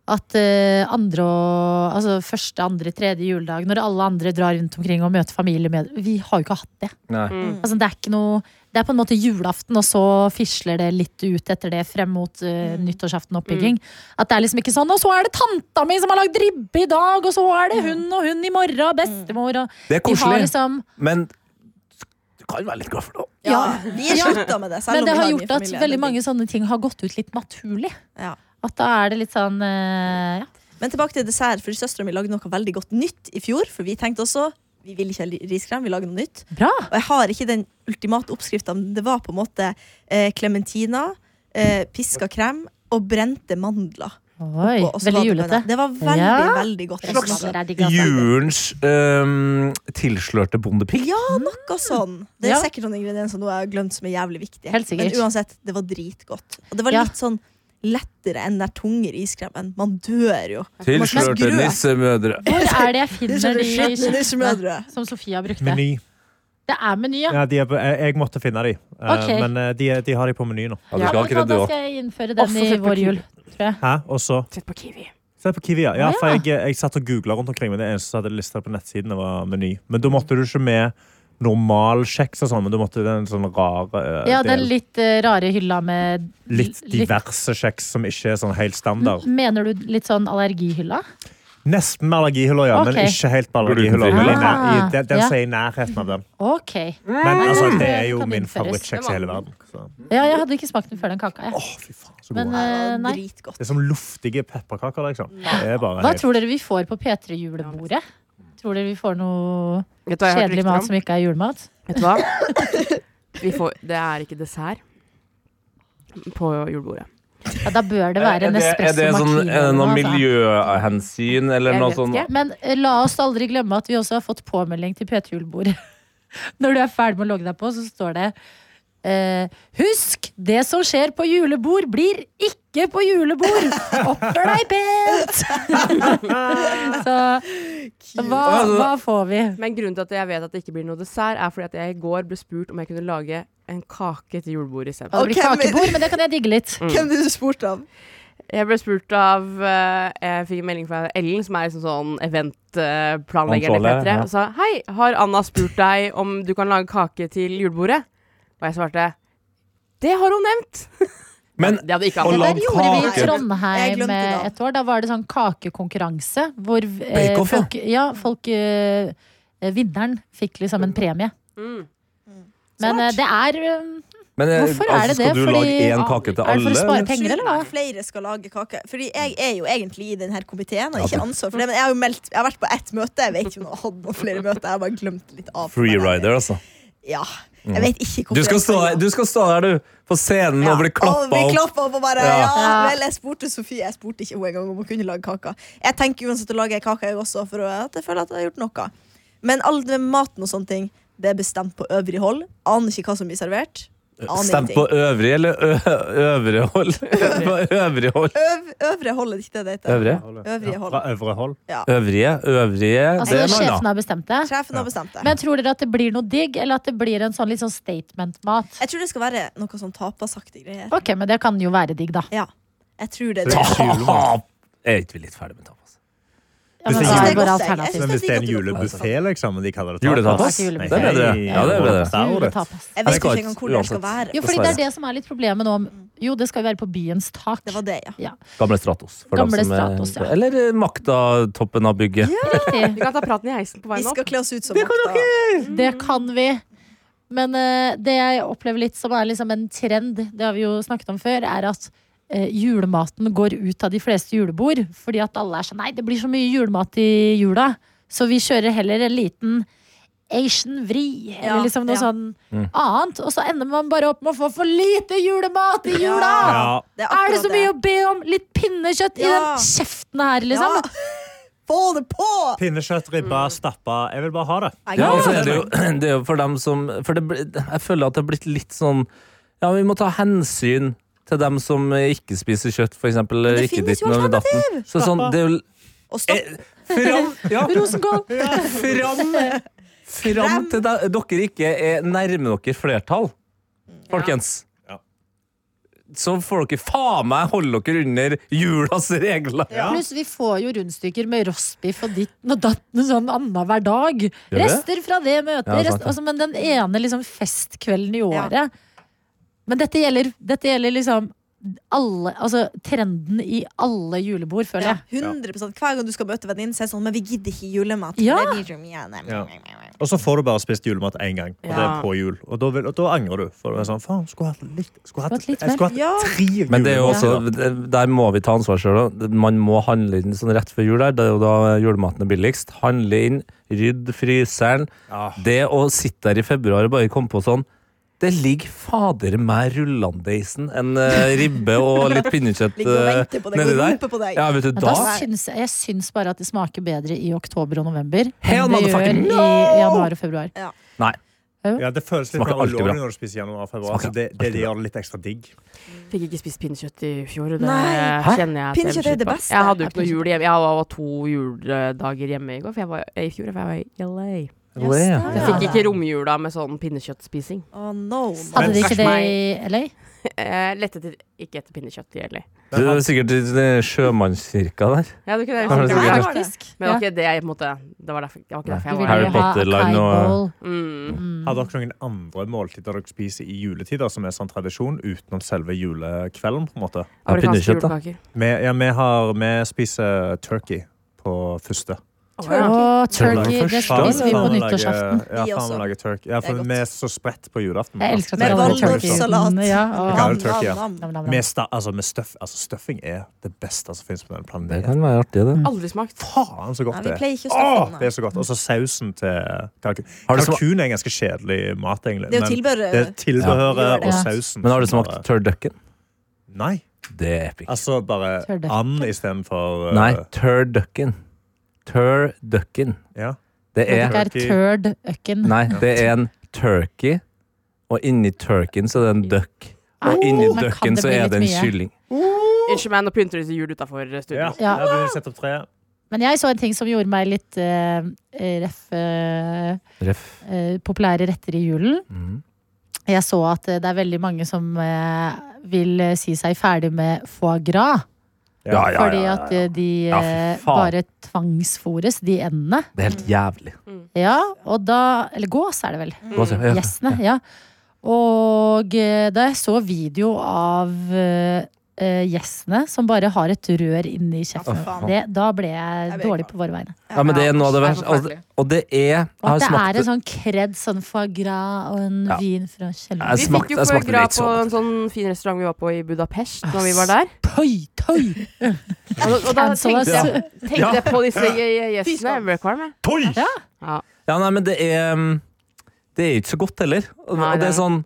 Speaker 7: At eh, andre og Altså første, andre, tredje juledag, når alle andre drar rundt omkring og møter familie med Vi har jo ikke hatt det.
Speaker 2: Nei.
Speaker 7: Altså, det, er ikke noe, det er på en måte julaften, og så fisler det litt ut etter det frem mot eh, nyttårsaften oppbygging. At det er liksom ikke sånn 'Og så er det tanta mi som har lagd ribbe i dag', og så er det hun og hun i morgen, og bestemor og
Speaker 2: Det er
Speaker 7: Vi har
Speaker 2: koselig,
Speaker 7: liksom
Speaker 2: men du kan være litt glad for det. også.
Speaker 5: Ja, vi er slutta med det. Selv
Speaker 7: Men
Speaker 5: om
Speaker 7: det
Speaker 5: vi
Speaker 7: har
Speaker 5: har mye
Speaker 7: gjort at
Speaker 5: familie,
Speaker 7: veldig
Speaker 5: det er
Speaker 7: mange sånne ting har gått ut litt naturlig.
Speaker 5: digg. ja.
Speaker 7: At da er det litt sånn eh, ja.
Speaker 5: Men tilbake til dessert, for søstera mi lagde noe veldig godt nytt i fjor. For vi tenkte også vi vil ikke ha li- riskrem, vi lager noe nytt.
Speaker 7: Bra!
Speaker 5: Og jeg har ikke den ultimate oppskrifta, men det var på en måte klementina, eh, piska krem og brente mandler.
Speaker 7: Oi,
Speaker 5: Og- og
Speaker 7: veldig
Speaker 5: sjokoladebønner.
Speaker 7: julete.
Speaker 5: Det var veldig,
Speaker 7: Ja.
Speaker 5: veldig godt. Jeg
Speaker 7: Slags
Speaker 5: smakte det.
Speaker 2: Julens øhm, tilslørte bondepigg.
Speaker 5: Ja, noe sånn. Det er
Speaker 7: Ja.
Speaker 5: sikkert noen ingredienser nå jeg har glemt som er jævlig viktige.
Speaker 7: Helt sikkert.
Speaker 5: Men uansett, det var dritgodt. Og det var
Speaker 7: Ja.
Speaker 5: litt sånn lettere enn den tunge riskremen. Man dør jo.
Speaker 2: Tilslørte
Speaker 5: Men grøt.
Speaker 2: nissemødre.
Speaker 7: Hvor er det jeg finner de
Speaker 5: nissemødre.
Speaker 7: skjøttene som Sofia brukte?
Speaker 9: Meny.
Speaker 7: Det er meny, ja.
Speaker 9: Ja, de er på, jeg, jeg måtte finne de. Eh,
Speaker 7: Ok.
Speaker 9: Men eh, de, er- de har de på meny nå.
Speaker 2: Ja, du
Speaker 4: Ja,
Speaker 2: skal ha
Speaker 7: men da,
Speaker 2: kred,
Speaker 7: da
Speaker 2: du òg.
Speaker 7: skal jeg innføre den
Speaker 4: Også
Speaker 7: i
Speaker 4: sett på
Speaker 7: vår
Speaker 4: Kiwi.
Speaker 7: jul.
Speaker 9: Hæ? Og så
Speaker 4: Sett på Kiwi.
Speaker 9: Se på Kiwi, ja. ja
Speaker 7: Å,
Speaker 9: for
Speaker 7: ja.
Speaker 9: jeg, jeg satt og googla rundt omkring, men det eneste som hadde lista på nettsidene, var meny. Men da måtte du ikke med normal kjeks og sånn, men du måtte den sånn rare eh,
Speaker 7: Ja, den
Speaker 9: del.
Speaker 7: litt eh, rare hylla med Mm,
Speaker 9: Litt diverse kjeks som ikke er sånn helt standard.
Speaker 7: Mener du litt sånn allergihylla?
Speaker 9: Nesten med allergihylla, ja,
Speaker 7: Ok.
Speaker 9: men ikke helt med allergihylla. men
Speaker 2: Glutenfri.
Speaker 9: i nær-
Speaker 7: Ah,
Speaker 9: i- Den, den
Speaker 7: ja.
Speaker 9: som er i nærheten av den.
Speaker 7: Ok.
Speaker 9: Men altså, det
Speaker 7: det
Speaker 9: er jo
Speaker 7: kan
Speaker 9: min
Speaker 7: innføres.
Speaker 9: favorittkjeks i hele verden. Så.
Speaker 7: Ja, jeg hadde ikke smakt den før den kaka. Jeg.
Speaker 9: Åh, fy faen, så
Speaker 7: Men
Speaker 9: god.
Speaker 7: eh, nei.
Speaker 5: Dritgodt.
Speaker 9: Det er som luftige pepperkaker, liksom. Det er bare
Speaker 7: Hva
Speaker 9: helt
Speaker 7: tror dere vi får på P3-julebordet? Tror dere vi får noe
Speaker 4: Vet du hva jeg har hørt
Speaker 7: kjedelig
Speaker 4: rykter
Speaker 7: mat
Speaker 4: om?
Speaker 7: som ikke er julemat?
Speaker 4: Vet du hva? Vi får, det er ikke dessert på julebordet.
Speaker 7: Ja, da bør det være
Speaker 2: Er
Speaker 7: en
Speaker 2: det, er
Speaker 7: espresso
Speaker 2: det sånn,
Speaker 7: martini.
Speaker 2: er det
Speaker 7: eller
Speaker 2: noe
Speaker 7: noe, altså.
Speaker 2: miljøhensyn eller
Speaker 4: Jeg
Speaker 2: noe
Speaker 4: vet
Speaker 2: sånn?
Speaker 4: ikke.
Speaker 7: Men eh, la oss aldri glemme at vi også har fått påmelding til PT-julebordet. Når du er ferdig med å logge deg på, så står det eh, Husk, det som skjer på julebord, blir ikke på julebord! Oppfør deg pent! så hva, hva får vi?
Speaker 4: Men grunnen til at jeg vet at det ikke blir noe dessert, er fordi at jeg i går ble spurt om jeg kunne lage en kake til julebordet istedenfor.
Speaker 7: Det blir Mm.
Speaker 5: Ok, men-
Speaker 7: kakebord, men det kan jeg digge litt.
Speaker 5: Hvem er det du spurte av?
Speaker 4: Jeg ble spurt av eh, Jeg fikk en melding fra Ellen, som er liksom sånn eventplanlegger i
Speaker 2: Ansvarlig,
Speaker 4: P3,
Speaker 2: ja.
Speaker 4: og sa Hei, har Anna spurt deg om du kan lage kake til julebordet? Og jeg svarte Det har hun nevnt!
Speaker 2: Men
Speaker 4: Det hadde ikke
Speaker 2: Og
Speaker 7: Det
Speaker 4: han.
Speaker 2: la-
Speaker 7: der
Speaker 2: lagd
Speaker 7: gjorde vi i
Speaker 2: kake.
Speaker 5: Jeg
Speaker 7: Trondheim
Speaker 5: glemte det.
Speaker 7: et år. Da var det sånn kakekonkurranse. Hvor eh,
Speaker 2: Bake-off, ja.
Speaker 7: folk, ja, folk eh, eh, Vinneren fikk liksom en premie.
Speaker 4: Mm.
Speaker 7: Men eh, det er eh,
Speaker 2: Men, eh,
Speaker 7: Hvorfor er det
Speaker 2: skal
Speaker 7: det?
Speaker 2: du
Speaker 7: Fordi-
Speaker 2: lage én kake til
Speaker 7: Er det for å
Speaker 2: alle?
Speaker 7: spare
Speaker 2: eller?
Speaker 7: penger, eller hva?
Speaker 5: Flere skal lage kake. Fordi jeg er jo egentlig i denne komiteen og ikke ansvar for det. Men jeg har jo meldt, jeg har vært på ett møte. Jeg vet ikke om jeg har hatt noen flere møter. Jeg har bare glemt litt av.
Speaker 2: Freerider, altså.
Speaker 5: Ja.
Speaker 7: Mm.
Speaker 5: Jeg vet ikke hvorfor
Speaker 2: Du skal,
Speaker 5: jeg
Speaker 2: stå der, du skal stå der, du. På scenen og bli
Speaker 5: Og
Speaker 2: klappa
Speaker 5: vi
Speaker 2: opp.
Speaker 5: klappa opp og bare
Speaker 2: Ja.
Speaker 5: ja.
Speaker 7: Ja.
Speaker 5: vel, jeg spurte Sofie Jeg spurte ikke henne engang om hun kunne lage kaka. Jeg tenker uansett å lage ei kake, jeg også, for at jeg føler at jeg har gjort noe. Men all den maten og sånne ting, det er bestemt på øvrig hold. Aner ikke hva som blir servert. Aner
Speaker 2: Stem på
Speaker 5: ingenting.
Speaker 2: øvrig eller ø øvre hold? På øvrig hold.
Speaker 5: Øv, øvre hold er det ikke det det heter.
Speaker 2: Øvrige?
Speaker 5: Øvrige hold.
Speaker 9: Fra øvre hold.
Speaker 2: Øvrige? Øvrige
Speaker 7: Altså,
Speaker 2: Det er noe
Speaker 7: sjefen
Speaker 2: annet.
Speaker 7: har bestemt det.
Speaker 5: Sjefen har bestemt det.
Speaker 7: Men tror dere at det blir noe digg, eller at det blir en sånn litt sånn statement-mat?
Speaker 5: Jeg tror det skal være noe sånn tapasaktig greier.
Speaker 7: Ok, men det kan jo være digg, da.
Speaker 5: Ja, jeg tror det er det.
Speaker 2: Tap! Er ikke vi litt ferdig med tapas?
Speaker 7: Ja, men
Speaker 9: Hvis
Speaker 7: hva
Speaker 9: ikke-
Speaker 7: er våre
Speaker 5: Jeg synes
Speaker 7: alternativ?
Speaker 5: er
Speaker 9: Men hvis det er en
Speaker 5: digg at du-
Speaker 9: julebuffé, liksom, og de kaller det
Speaker 2: Juletapas?
Speaker 7: Det er ikke
Speaker 2: Det
Speaker 7: julebuffé.
Speaker 2: er bedre. Ja, det er bedre.
Speaker 7: Juletapas.
Speaker 2: Nei,
Speaker 5: Jeg vet
Speaker 2: det går
Speaker 5: ikke
Speaker 2: ikke.
Speaker 5: engang hvor det
Speaker 2: Uansett.
Speaker 5: skal være.
Speaker 7: Mm, Jo, fordi det er det som er litt problemet nå. Jo, det skal jo være på byens tak.
Speaker 5: Det var det, ja.
Speaker 2: Gamle Stratos. for
Speaker 7: Gamle
Speaker 2: dem som er-
Speaker 7: Stratos, ja.
Speaker 2: Eller eh, Makta-toppen av bygget.
Speaker 7: Riktig.
Speaker 4: Vi kan ta praten i heisen på
Speaker 5: Vi
Speaker 4: veien opp.
Speaker 5: skal kle oss ut som makta.
Speaker 7: Det kan vi. Men eh, det jeg opplever litt som er liksom en trend, det har vi jo snakket om før, er at eh, julematen går ut av de fleste julebord. Fordi at alle er sånn Nei, det blir så mye julemat i jula. Så vi kjører heller en liten Asian vri, eller
Speaker 5: Ja,
Speaker 7: liksom noe
Speaker 5: ja.
Speaker 7: sånn annet. Og så ender man bare opp med å få for lite julemat i jula!
Speaker 9: Ja.
Speaker 7: Er det så
Speaker 5: akkurat
Speaker 7: mye å be om? Litt pinnekjøtt i
Speaker 5: Ja.
Speaker 7: den kjeften her, liksom.
Speaker 5: Ja. Få det på!
Speaker 9: Pinnekjøtt, ribba, stappa. Jeg vil bare ha det.
Speaker 5: Jeg
Speaker 2: Ja, og så
Speaker 5: gleder
Speaker 2: er det
Speaker 5: meg.
Speaker 2: jo, det er jo for dem som For det, blir- jeg føler at det er blitt litt sånn Ja, vi må ta hensyn til dem som ikke spiser kjøtt, for eksempel.
Speaker 5: det
Speaker 2: ikke
Speaker 5: finnes jo
Speaker 2: ditten og datten. Så sånn, det er jo
Speaker 5: Og stopp.
Speaker 2: Fram! Ja,
Speaker 7: Rosenkål!
Speaker 2: fram! Fram til de, dere ikke er nærmer dere flertall, folkens.
Speaker 9: Ja.
Speaker 2: Så får dere faen meg holde dere under julas regler.
Speaker 7: Pluss vi får jo rundstykker med rostbiff og ditten og datten sånn annenhver dag.
Speaker 2: vi?
Speaker 7: Rester fra det møtet.
Speaker 2: Ja, sant
Speaker 7: rest,
Speaker 2: det.
Speaker 7: altså, men den ene liksom, festkvelden i året. Men dette gjelder, dette gjelder liksom alle, altså, trenden i alle julebord, føler
Speaker 5: Ja,
Speaker 7: jeg.
Speaker 5: 100 Hver gang du skal møte venninnen, så er det sånn Men vi gidder ikke julemat. for
Speaker 7: Ja.
Speaker 5: det blir så mye. Nei,
Speaker 9: Ja.
Speaker 5: nei, nei, nei.
Speaker 9: Og så får du bare spist julemat én gang, og det er
Speaker 4: Ja.
Speaker 9: på jul. Og da, vil, og da angrer du. For det er sånn, faen, skulle hatt litt, skulle hatt,
Speaker 7: Hatt litt
Speaker 9: jeg skulle hatt
Speaker 5: Ja.
Speaker 9: tre julemat.
Speaker 2: Men det er jo også, der må vi ta ansvar sjøl. Man må handle inn sånn rett før jul. Der. Det er jo da julematen er billigst. Handle inn, rydd fryseren.
Speaker 9: Ah.
Speaker 2: Det å sitte der i februar og bare komme på sånn Det ligger fader meg rullandeisen, en eh, ribbe og litt pinnekjøtt
Speaker 5: Ligger og
Speaker 2: eh,
Speaker 5: venter på deg, går og roper på deg.
Speaker 2: Ja, vet du,
Speaker 7: Men da,
Speaker 2: da
Speaker 7: syns jeg, jeg syns bare at det smaker bedre i oktober og november
Speaker 2: Hell
Speaker 7: enn det gjør
Speaker 2: motherfucking no!
Speaker 7: i januar og februar.
Speaker 2: Nei.
Speaker 9: Ja, det føles litt
Speaker 2: Smaker
Speaker 9: mer
Speaker 2: alltid bra.
Speaker 9: lovlig når du spiser januar og februar.
Speaker 2: Smaker
Speaker 9: så Det, det,
Speaker 2: alltid
Speaker 9: det gjør det litt ekstra digg.
Speaker 4: Fikk ikke spist pinnekjøtt i fjor. og Det
Speaker 5: Nei.
Speaker 2: Hæ?
Speaker 4: kjenner jeg at
Speaker 5: Pinnekjøtt er
Speaker 4: jeg
Speaker 5: det
Speaker 4: blir skitt på.
Speaker 5: beste.
Speaker 4: Jeg hadde jo
Speaker 7: Er
Speaker 4: ikke noe jul hjemme. Jeg var, var to juledager hjemme i går, for jeg var i fjor, for jeg var i LA.
Speaker 2: Wow.
Speaker 4: Jeg fikk ikke romjula med sånn pinnekjøttspising.
Speaker 5: Å, no, no.
Speaker 7: Hadde de ikke
Speaker 4: Stakkars
Speaker 7: det i
Speaker 4: meg.
Speaker 7: LA?
Speaker 4: Jeg Eh, lette etter, ikke etter pinnekjøtt i LA.
Speaker 2: Det er sikkert i den sjømannskirka der.
Speaker 4: Jeg hadde ikke det.
Speaker 2: Ja, men det er
Speaker 5: Der
Speaker 4: Men
Speaker 5: var det.
Speaker 4: det var ikke det jeg på en måte Det var derfor, det var ikke derfor
Speaker 7: Du
Speaker 4: jeg
Speaker 7: ville
Speaker 4: var
Speaker 2: Harry
Speaker 7: ha
Speaker 4: der.
Speaker 2: Potter-line
Speaker 7: acai
Speaker 2: og-
Speaker 7: bowl.
Speaker 4: Mm.
Speaker 9: Har dere noen andre måltider dere spiser i juletider, som er sånn tradisjon, utenom selve julekvelden? på en måte?
Speaker 2: Ja,
Speaker 4: Amerikanske
Speaker 2: pinnekjøtt, da.
Speaker 4: julekaker.
Speaker 9: Vi, ja, vi, har, vi spiser turkey på første.
Speaker 7: Og turkey.
Speaker 2: Turkey.
Speaker 7: Det spiser vi på
Speaker 9: Faen, lager-
Speaker 7: nyttårsaften.
Speaker 9: Ja,
Speaker 5: Vi
Speaker 9: faen,
Speaker 5: også.
Speaker 9: vi lager turkey. Ja,
Speaker 5: Det er
Speaker 9: for
Speaker 5: godt.
Speaker 9: vi er så spredt på julaften. altså.
Speaker 7: Jeg elsker at
Speaker 5: Med
Speaker 7: dere
Speaker 9: Med
Speaker 7: lager
Speaker 9: valnøtt-
Speaker 7: turkey.
Speaker 5: valnøttsalat.
Speaker 7: uten- Ja, og-
Speaker 9: Ja, det er turkey, ja.
Speaker 5: Nam, nam, nam.
Speaker 7: Nam, nam, nam.
Speaker 9: Med sta, altså, med støff, altså, støffing er det beste som finnes på den
Speaker 2: Det
Speaker 9: planeten.
Speaker 2: kan være artig, det.
Speaker 4: Aldri smakt.
Speaker 9: Faen, så
Speaker 5: Nei,
Speaker 9: godt
Speaker 5: vi
Speaker 9: det er.
Speaker 5: pleier ikke å stoffe
Speaker 9: Åh,
Speaker 5: den.
Speaker 9: det
Speaker 5: da.
Speaker 9: er så godt. Og så sausen til kalkun.
Speaker 2: Har du sma-
Speaker 9: Kalkun er en ganske kjedelig mat, egentlig.
Speaker 5: Det er jo
Speaker 9: men
Speaker 5: tilbehøret.
Speaker 9: det er tilbehøret
Speaker 5: Ja.
Speaker 9: og
Speaker 7: Ja.
Speaker 9: sausen.
Speaker 2: Men har du
Speaker 9: som
Speaker 2: smakt
Speaker 9: bare-
Speaker 2: turducken?
Speaker 9: Nei.
Speaker 2: Det er epic.
Speaker 9: Altså bare
Speaker 7: Tørrduck.
Speaker 9: and istedenfor uh,
Speaker 2: Nei, turducken. Turducken.
Speaker 9: Ja.
Speaker 2: Det
Speaker 7: Det
Speaker 2: er
Speaker 7: er
Speaker 9: Turkey.
Speaker 7: turd økken.
Speaker 2: Nei, det er en turkey, og inni turkeyen så er det en duck. Og inni
Speaker 7: Nå kan
Speaker 2: ducken
Speaker 7: det
Speaker 2: så
Speaker 7: bli
Speaker 2: er
Speaker 7: litt
Speaker 2: det en
Speaker 7: mye.
Speaker 2: kylling.
Speaker 4: Unnskyld meg, nå pynter de til jul utafor
Speaker 9: Ja.
Speaker 4: studio.
Speaker 7: Ja.
Speaker 9: Der burde vi sette opp treet.
Speaker 7: Men jeg så en ting som gjorde meg litt eh, ref, eh,
Speaker 2: Ref.
Speaker 7: eh, populære retter i julen.
Speaker 2: Mhm.
Speaker 7: Jeg så at eh, det er veldig mange som eh, vil eh, si seg ferdig med foie gras.
Speaker 2: Ja, ja,
Speaker 7: Fordi
Speaker 2: ja,
Speaker 7: at
Speaker 2: ja, ja.
Speaker 7: eh, de
Speaker 2: Ja,
Speaker 7: eh,
Speaker 2: faen.
Speaker 7: bare tvangsfôres, de endene.
Speaker 2: Det er helt jævlig.
Speaker 7: Ja, og da Eller gås er det vel.
Speaker 2: Hva sier jeg?
Speaker 7: Gjessene, ja. Og eh, da jeg så video av eh, eh, gjessene som bare har et rør inni kjeften,
Speaker 5: faen.
Speaker 7: det, da ble jeg,
Speaker 5: Jeg blir
Speaker 7: dårlig
Speaker 5: glad.
Speaker 7: på våre vegne.
Speaker 2: Ja, men det er noe av det verste. Og,
Speaker 4: forferdelig.
Speaker 2: og det er Jeg
Speaker 7: Og
Speaker 2: har
Speaker 7: at det
Speaker 2: smakt
Speaker 7: er
Speaker 2: det.
Speaker 7: en sånn kred, sånn foie gras og en
Speaker 2: Ja.
Speaker 7: vin fra
Speaker 2: Jeg
Speaker 7: Kjelleren.
Speaker 4: Vi
Speaker 2: smakte-
Speaker 4: fikk
Speaker 2: jeg
Speaker 4: jo
Speaker 2: smakte
Speaker 4: foie
Speaker 2: litt
Speaker 4: gras på
Speaker 2: sånn.
Speaker 4: en sånn fin restaurant vi var på i Budapest når vi var der.
Speaker 7: Tøy, tøy!
Speaker 4: Og, og da
Speaker 7: Cancel
Speaker 4: tenkte jeg, tenkte jeg på disse
Speaker 5: Fy
Speaker 4: gjestene.
Speaker 5: skam.
Speaker 4: Requiem, jeg.
Speaker 2: Ja, nei, men det er um, Det er ikke så godt heller. Og,
Speaker 4: Nei,
Speaker 2: og det er
Speaker 4: det er-
Speaker 2: sånn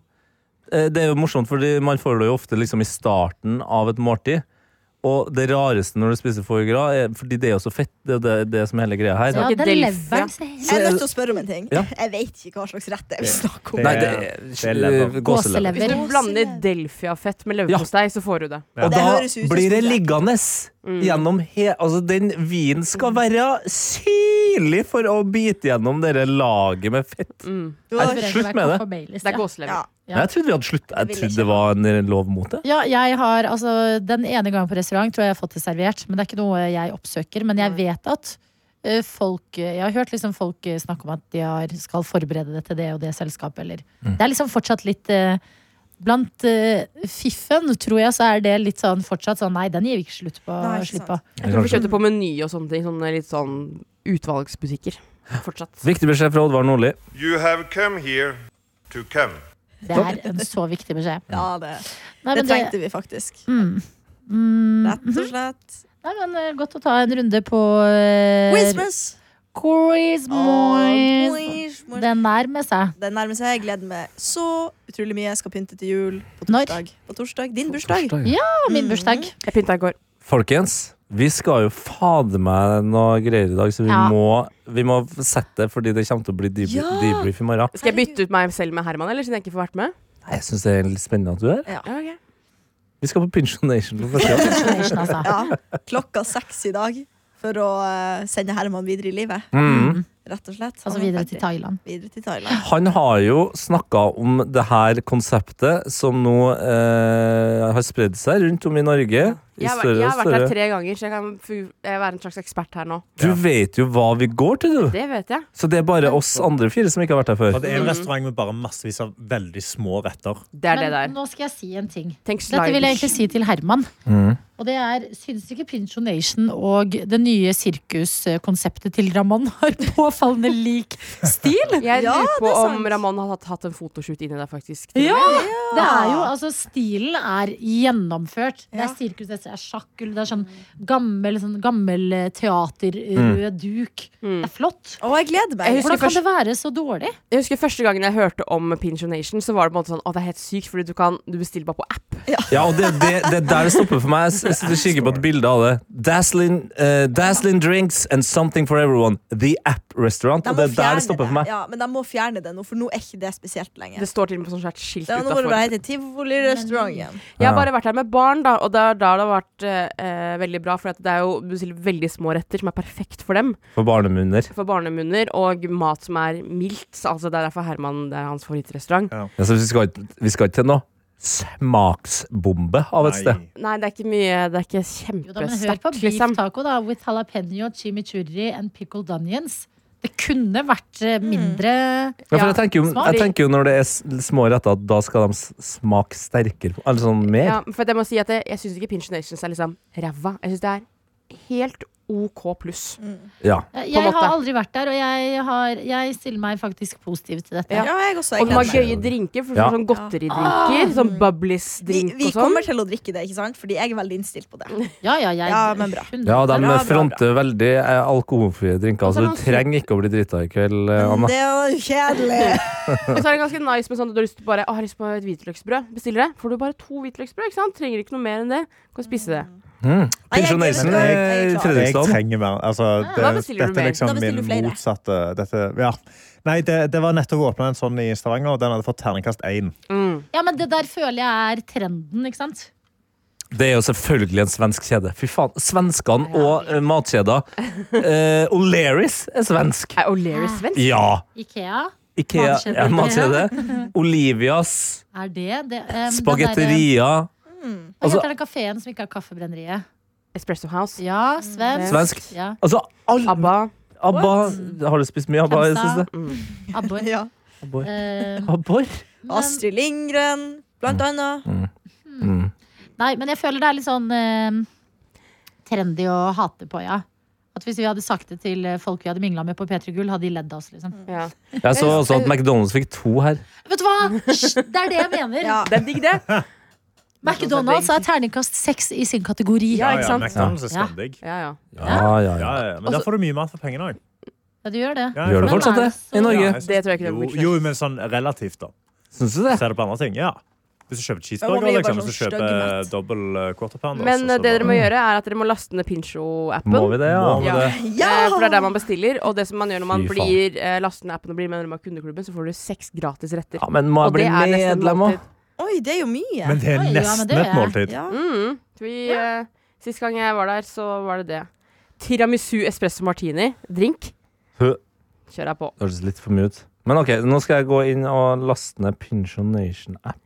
Speaker 2: eh, Det er jo morsomt, fordi man får det jo ofte liksom i starten av et måltid. Og det rareste når du spiser foie gras, er- fordi det er jo så fett, det er det, det som er hele greia her.
Speaker 7: Ja,
Speaker 4: ikke
Speaker 7: det er
Speaker 4: Delf, ja.
Speaker 7: leveren som
Speaker 5: Jeg er nødt til å spørre om en ting.
Speaker 2: Ja.
Speaker 5: Jeg vet ikke hva slags rett det er vi snakker om.
Speaker 2: Nei, det
Speaker 9: det er
Speaker 2: er
Speaker 9: lever.
Speaker 2: eh, gåselever.
Speaker 4: Hvis
Speaker 7: Gåselever.
Speaker 4: du blander delfiafett med leverpostei, så får du det.
Speaker 2: Og
Speaker 5: Det
Speaker 2: da
Speaker 5: høres ut som
Speaker 2: blir det
Speaker 5: stort.
Speaker 2: liggende gjennom he... Altså, den vinen skal være syrlig for å bite gjennom det laget med fett.
Speaker 4: Mm.
Speaker 5: Du har-
Speaker 2: Nei, slutt med det.
Speaker 4: Det er gåselever.
Speaker 5: Ja.
Speaker 7: Ja.
Speaker 2: Jeg trodde vi hadde slutt.
Speaker 5: Jeg
Speaker 2: Jeg
Speaker 5: ville
Speaker 2: trodde
Speaker 5: ikke.
Speaker 2: det var en lov mot det.
Speaker 7: Ja, jeg har, altså, Den ene gangen på restaurant tror jeg jeg har fått det servert. Men Det er ikke noe jeg oppsøker. Men jeg vet at eh, folk Jeg har hørt liksom folk eh, snakke om at de har, skal forberede det til det og det selskapet. Eller. Det er liksom fortsatt litt eh, Blant eh, fiffen, tror jeg, så er det litt sånn fortsatt sånn Nei, den gir vi ikke slutt på.
Speaker 5: Nei, ikke
Speaker 7: slipp på.
Speaker 5: sant.
Speaker 4: Jeg tror vi kjøpte på Meny og sånne ting. Sånne litt sånn utvalgsbutikker. Fortsatt.
Speaker 2: Viktig beskjed fra Oddvar Nordli.
Speaker 10: You have come here to come.
Speaker 7: Det er en så viktig beskjed.
Speaker 5: ja, det,
Speaker 7: Nei,
Speaker 5: det
Speaker 7: men
Speaker 5: trengte vi faktisk.
Speaker 7: mm, mm,
Speaker 5: Rett og slett.
Speaker 7: nei, men eh, Godt å ta en runde på eh,
Speaker 5: Christmas!
Speaker 7: Christmas.
Speaker 5: Christmas.
Speaker 7: Den nærmer seg.
Speaker 5: Det nærmer seg. Jeg gleder meg så utrolig mye. Jeg skal pynte til jul på
Speaker 7: Når?
Speaker 5: torsdag. På torsdag. Din bursdag.
Speaker 7: Ja,
Speaker 5: Mm.
Speaker 7: min bursdag.
Speaker 4: Jeg pynta i går.
Speaker 2: Folkens, vi skal jo fader meg noe greier i dag, så vi,
Speaker 7: Ja.
Speaker 2: må, vi må sette det, fordi det kommer til å bli debrief,
Speaker 5: Ja.
Speaker 2: debrief i morgen.
Speaker 4: Skal jeg bytte ut meg selv med Herman, eller siden jeg ikke får vært med?
Speaker 2: Nei, Jeg syns det er litt spennende at du er her.
Speaker 4: Ja, ok.
Speaker 2: Vi skal på Pinsjonation for første gang.
Speaker 7: Destination, altså.
Speaker 5: Ja. Klokka seks i dag for å eh, sende Herman videre i livet.
Speaker 2: Mm.
Speaker 5: Rett og slett.
Speaker 7: Altså
Speaker 5: Han er
Speaker 7: videre
Speaker 5: ferdig.
Speaker 7: til Thailand.
Speaker 5: Videre til Thailand.
Speaker 2: Han har jo snakka om det her konseptet som nå eh, har spredd seg rundt om i Norge. I
Speaker 4: Jeg har, vært-
Speaker 2: større
Speaker 4: jeg har
Speaker 2: og
Speaker 4: vært her
Speaker 2: større.
Speaker 4: tre ganger, så jeg kan fu- jeg være en slags ekspert her nå.
Speaker 2: Du vet jo hva vi går til, du.
Speaker 4: Det vet jeg.
Speaker 2: Så det er bare oss andre fire som ikke har vært her før.
Speaker 9: Og det er en restaurant med bare massevis av veldig små retter.
Speaker 4: Det er
Speaker 7: Men
Speaker 4: det der.
Speaker 7: nå skal jeg si en ting.
Speaker 4: Tenk
Speaker 7: Dette vil jeg egentlig
Speaker 4: sliders.
Speaker 7: si til Herman.
Speaker 2: Mm.
Speaker 7: Og det er, syns ikke Pincho Nation og det nye sirkuskonseptet til Raman har påfallende lik stil?
Speaker 4: Jeg
Speaker 5: Ja,
Speaker 4: lurer på
Speaker 5: det er
Speaker 4: om
Speaker 5: sant.
Speaker 4: Ramón har hatt, hatt en fotoshoot inni der, faktisk.
Speaker 7: Ja! Det er jo, altså Stilen er gjennomført. Det er sirkus, det er sjakkul, det er sånn gammel, sånn gammel eh, teater, rød duk.
Speaker 4: Mm.
Speaker 7: Det er flott.
Speaker 5: Og jeg gleder meg.
Speaker 4: Jeg husker
Speaker 7: Hvordan kan
Speaker 4: først-
Speaker 7: det være så dårlig?
Speaker 4: Jeg husker første gangen jeg hørte om Pincho Nation, så var det på en måte sånn Å, det er helt sykt, fordi du kan Du bestiller bare på app.
Speaker 2: Ja, og det, det, det er der det stopper for meg. Jeg s- Jeg sitter og kikker på et bilde av det. Dazzling, eh, dazzling drinks and something for everyone. The App Restaurant.
Speaker 5: De
Speaker 2: Og
Speaker 5: må
Speaker 2: det er der
Speaker 5: fjerne
Speaker 2: det stopper for
Speaker 5: det.
Speaker 2: meg.
Speaker 5: Ja, men de må fjerne det nå, for nå er ikke det spesielt lenger.
Speaker 4: Det står til og med på sånn svært skilt
Speaker 5: Det var noe hvor det
Speaker 4: utafor.
Speaker 5: heter Tivolirestauranten.
Speaker 4: Jeg har
Speaker 2: Ja.
Speaker 4: bare vært her med barn, da, og da, da har det vært eh, eh, veldig bra. For at det er jo du bestiller veldig små retter som er perfekt for dem.
Speaker 2: For barnemunner.
Speaker 4: For barnemunner, og mat som er mildt. Altså Det er derfor Herman det er hans favorittrestaurant.
Speaker 2: Ja, så Altså, vi skal, ikke- vi skal ikke til noe smaksbombe av et sted.
Speaker 9: Nei.
Speaker 4: Nei, det er ikke mye Det er
Speaker 7: Jo
Speaker 4: ikke
Speaker 7: da, men Hør på
Speaker 4: kjempesterkt,
Speaker 7: beef
Speaker 4: liksom.
Speaker 7: taco da with jalapeño, chimichurri and pickled onions. Det kunne vært eh,
Speaker 5: Mm.
Speaker 7: mindre
Speaker 2: Ja, for
Speaker 4: Ja,
Speaker 2: jeg tenker, jo,
Speaker 7: smak.
Speaker 2: jeg tenker jo når det er s- små retter, at da skal de s- smake sterkere. Eller sånn mer.
Speaker 4: Ja, for at jeg må si at jeg, jeg syns ikke Pinch Nations er liksom ræva. Jeg syns det er helt OK pluss.
Speaker 2: Ja.
Speaker 7: Jeg
Speaker 4: måte.
Speaker 7: har aldri vært der, og jeg, har, jeg stiller meg faktisk positiv til dette.
Speaker 5: Ja, jeg også.
Speaker 4: Og
Speaker 5: Jeg
Speaker 4: de har
Speaker 5: gleder meg.
Speaker 4: gøye drinker. For
Speaker 2: Ja.
Speaker 4: Sånn
Speaker 7: Ah.
Speaker 4: godteridrinker. Sånn
Speaker 5: Vi,
Speaker 4: Bubblies-drink
Speaker 5: vi
Speaker 4: og sånn.
Speaker 5: kommer til å drikke det, ikke sant? Fordi jeg er veldig innstilt på det.
Speaker 7: Ja, ja, jeg,
Speaker 5: Ja, men bra.
Speaker 7: Hun-
Speaker 2: Ja, de
Speaker 5: Bra, bra, bra.
Speaker 2: fronter veldig eh, alkoholfrie drinker, så du
Speaker 4: Og så har
Speaker 2: trenger ikke å bli drita i kveld, eh, Anna.
Speaker 5: Det er jo kjedelig.
Speaker 4: Og så er det ganske nice med sånn at du har lyst til bare, å, har lyst på et hvitløksbrød. Bestiller det. Får du bare to hvitløksbrød. ikke sant? Trenger ikke noe mer enn det. Kan spise det.
Speaker 2: Mm.
Speaker 5: Nei, jeg
Speaker 2: Pensjonisten
Speaker 5: gleder meg. Jeg
Speaker 2: i
Speaker 5: er klar.
Speaker 9: Jeg
Speaker 2: Fredrikstad.
Speaker 9: trenger mer. Altså, det,
Speaker 4: Da bestiller du
Speaker 9: dette er
Speaker 4: mer.
Speaker 9: liksom
Speaker 5: Da bestiller
Speaker 9: min
Speaker 5: du flere.
Speaker 9: motsatte dette, ja. Nei, det, det var nettopp åpna en sånn i Stavanger, og den hadde fått terningkast én.
Speaker 4: Mm.
Speaker 7: ja, men det der føler jeg er trenden, ikke sant?
Speaker 2: Det er jo selvfølgelig en svensk kjede. Fy faen, Svenskene og eh, matkjeder. Eh, O'Learys er svensk.
Speaker 4: Er O'Leary svensk?
Speaker 2: Ja!
Speaker 7: Ikea,
Speaker 2: Ikea
Speaker 7: Matkjede.
Speaker 2: er matkjede. Olivias.
Speaker 7: er det det? eh, den
Speaker 2: Spagetteria.
Speaker 7: derre-
Speaker 2: Altså-
Speaker 7: Hva heter den kafeen som ikke har Kaffebrenneriet?
Speaker 4: Espresso House.
Speaker 5: Mm.
Speaker 7: Ja, svensk.
Speaker 2: Svensk.
Speaker 7: Ja.
Speaker 2: Altså, all
Speaker 4: ABBA.
Speaker 2: ABBA Har du spist mye ABBA i det
Speaker 7: Kemsa.
Speaker 2: siste?
Speaker 7: Abbor.
Speaker 5: Mm. Ja.
Speaker 2: Abbor.
Speaker 3: Eh,
Speaker 2: Abbor?
Speaker 3: men-
Speaker 5: Astrid Lindgren, blant annet.
Speaker 2: Mm.
Speaker 7: Nei, men jeg føler det er litt sånn eh, trendy å hate på, ja. At hvis vi hadde sagt det til eh, folk vi hadde mingla med på P3 Gull, hadde de ledd av oss, liksom.
Speaker 4: Ja.
Speaker 2: Jeg så også at McDonald's fikk to her.
Speaker 7: Vet du hva? Hysj, Det er det jeg mener.
Speaker 5: Ja.
Speaker 4: Det er digg, det.
Speaker 7: McDonald's er terningkast seks i sin kategori.
Speaker 4: Ja, ikke sant?
Speaker 9: McDonald's er
Speaker 7: Ja.
Speaker 9: skandig.
Speaker 4: Ja, ja.
Speaker 2: Ja, ja,
Speaker 9: Ja,
Speaker 2: ja.
Speaker 9: ja, ja. Men der får du mye mat for pengene òg.
Speaker 7: Ja, du gjør det.
Speaker 9: Ja,
Speaker 2: Gjør det
Speaker 4: Men
Speaker 2: fortsatt
Speaker 4: er
Speaker 2: det?
Speaker 4: så-
Speaker 2: I Norge?
Speaker 4: Ja, Det tror jeg ikke det
Speaker 9: Jo,
Speaker 4: blir
Speaker 9: jo, men sånn relativt, da.
Speaker 2: Syns du det?
Speaker 9: Ser du på andre ting? Ja. Hvis du kjøper
Speaker 5: Ja, man
Speaker 9: cheeseburger,
Speaker 5: blir
Speaker 9: liksom, hvis
Speaker 5: bare
Speaker 9: du
Speaker 5: sånn
Speaker 9: kjøper
Speaker 5: stygg mett.
Speaker 9: dobbel eh, quarter pounder
Speaker 4: Men
Speaker 9: så-
Speaker 4: eh,
Speaker 9: så
Speaker 4: det dere må
Speaker 9: bare-
Speaker 4: gjøre, er at dere må laste ned Pincho-appen.
Speaker 2: sånn. Må vi det, ja?
Speaker 9: Må vi
Speaker 4: Ja.
Speaker 9: det?
Speaker 5: Ja!
Speaker 4: Eh, For det er der man bestiller. Og det som man gjør når man
Speaker 2: Fy faen.
Speaker 4: blir eh, laster ned appen og blir medlem av kundeklubben, så får du seks gratis retter.
Speaker 2: Ja, men må jeg
Speaker 4: Og
Speaker 2: bli
Speaker 4: det er nesten en
Speaker 2: medlem òg?
Speaker 4: måltid.
Speaker 5: Oi, det er jo mye.
Speaker 9: Men det er
Speaker 7: Oi, ja, men
Speaker 9: nesten
Speaker 7: det er-
Speaker 9: et måltid.
Speaker 5: ja.
Speaker 4: Mm. Vi, eh, sist gang jeg var der, så var det det. Tiramisu espresso martini. Drink.
Speaker 2: Hø.
Speaker 4: Kjør deg på.
Speaker 2: Det høres litt for mye ut. Men ok, nå skal jeg gå inn og laste ned Pincho Nation-app.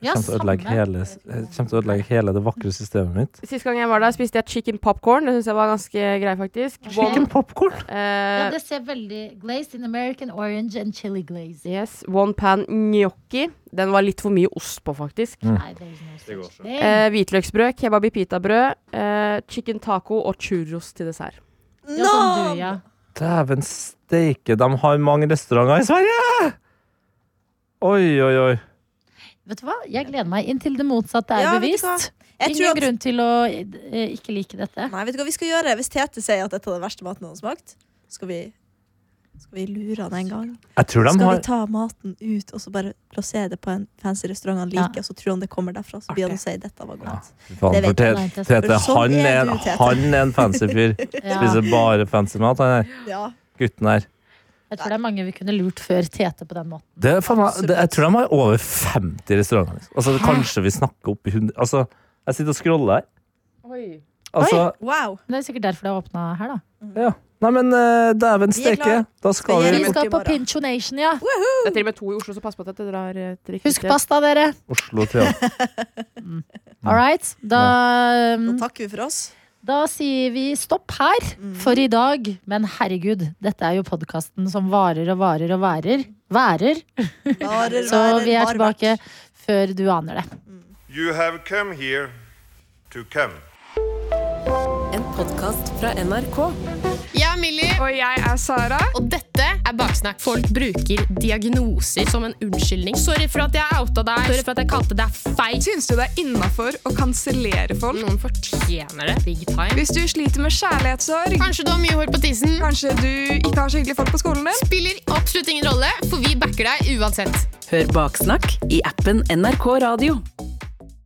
Speaker 7: Ja,
Speaker 2: Kommer til å ødelegge
Speaker 7: samme.
Speaker 2: hele, jeg kommer til å ødelegge hele det vakre systemet mitt.
Speaker 4: Sist gang jeg var der, spiste jeg chicken popcorn. Det syns jeg var ganske grei, faktisk.
Speaker 2: Chicken popcorn!
Speaker 4: One,
Speaker 7: Ja,
Speaker 4: eh,
Speaker 7: det ser veldig Glazed in American orange and chili glaze.
Speaker 4: yes, one pan gnocchi. Den var litt for mye ost på, faktisk.
Speaker 2: Mm.
Speaker 7: Nei, det er
Speaker 9: går
Speaker 7: ikke noe
Speaker 9: ikke.
Speaker 7: such thing.
Speaker 4: Eh, hvitløksbrød, kebab i pitabrød, eh, chicken taco og churros til dessert.
Speaker 7: Ja, sånn du, ja.
Speaker 2: Dæven steike, de har mange restauranter i Sverige! Oi, oi, oi.
Speaker 7: Vet du hva? Jeg gleder meg inntil det motsatte er
Speaker 5: Ja, vet du
Speaker 7: bevist.
Speaker 5: Jeg tror
Speaker 7: Ingen
Speaker 5: at
Speaker 7: grunn til å eh, ikke like dette.
Speaker 5: Nei, vet du hva vi skal gjøre? Hvis Tete sier at dette er den verste maten han har smakt, skal vi, skal vi lure han en gang.
Speaker 2: Jeg tror de
Speaker 5: skal
Speaker 2: har
Speaker 5: vi ta maten ut og så bare plassere det på en fancy restaurant han liker,
Speaker 7: Ja.
Speaker 5: og så tror han det kommer derfra, så blir han å si dette var godt.
Speaker 2: Faen,
Speaker 5: Det
Speaker 2: for
Speaker 5: vet jeg
Speaker 2: Tete,
Speaker 7: ikke.
Speaker 2: Tete,
Speaker 5: Sånn
Speaker 2: han
Speaker 5: er
Speaker 2: er,
Speaker 5: du, Tete.
Speaker 2: han er en fancy fyr.
Speaker 7: Ja.
Speaker 2: Spiser bare fancy mat, han her.
Speaker 5: Ja.
Speaker 2: Gutten her.
Speaker 7: Jeg tror det er mange vi kunne lurt før Tete på den måten.
Speaker 2: Det er faen, meg- det, jeg tror de har over 50 restauranter. liksom. Altså, det- kanskje vi snakker opp i 100 Altså, jeg sitter og scroller her. Altså,
Speaker 5: Wow.
Speaker 7: Men det er sikkert derfor det er åpna her, da.
Speaker 2: nei, men uh, dæven
Speaker 5: Vi
Speaker 2: steike.
Speaker 5: er klar.
Speaker 2: Da skal
Speaker 5: Vi er
Speaker 2: vi
Speaker 7: Vi
Speaker 5: borte
Speaker 7: skal
Speaker 5: i
Speaker 7: på
Speaker 5: morgen.
Speaker 7: Pincho Nation, ja.
Speaker 4: Det er til og med to i Oslo, så pass på at dere drar eh, til riktig
Speaker 7: Husk pasta, dere.
Speaker 2: Oslo Teater.
Speaker 7: All right. Da,
Speaker 5: Da
Speaker 7: um,
Speaker 5: takker vi for oss.
Speaker 7: da sier vi stopp her for i dag. Men herregud, dette er jo podkasten som varer og varer og værer. Værer.
Speaker 5: Varer,
Speaker 7: Så
Speaker 5: værer,
Speaker 7: vi er
Speaker 5: har vært.
Speaker 7: tilbake før du aner det.
Speaker 10: You have come here to come.
Speaker 11: En podkast fra NRK.
Speaker 12: Jeg er Millie. Og jeg er Sara. Og dette er Baksnakk. Folk bruker diagnoser som en unnskyldning. Sorry for at jeg outa deg. Sorry for at jeg kalte deg feil. Syns du det er innafor å kansellere folk? Noen fortjener det. Big time. Hvis du sliter med kjærlighetssorg Kanskje du har mye hår på tissen. Kanskje du ikke har så hyggelige folk på skolen din. Spiller absolutt ingen rolle, for vi backer deg uansett.
Speaker 11: Hør Baksnakk i appen NRK Radio.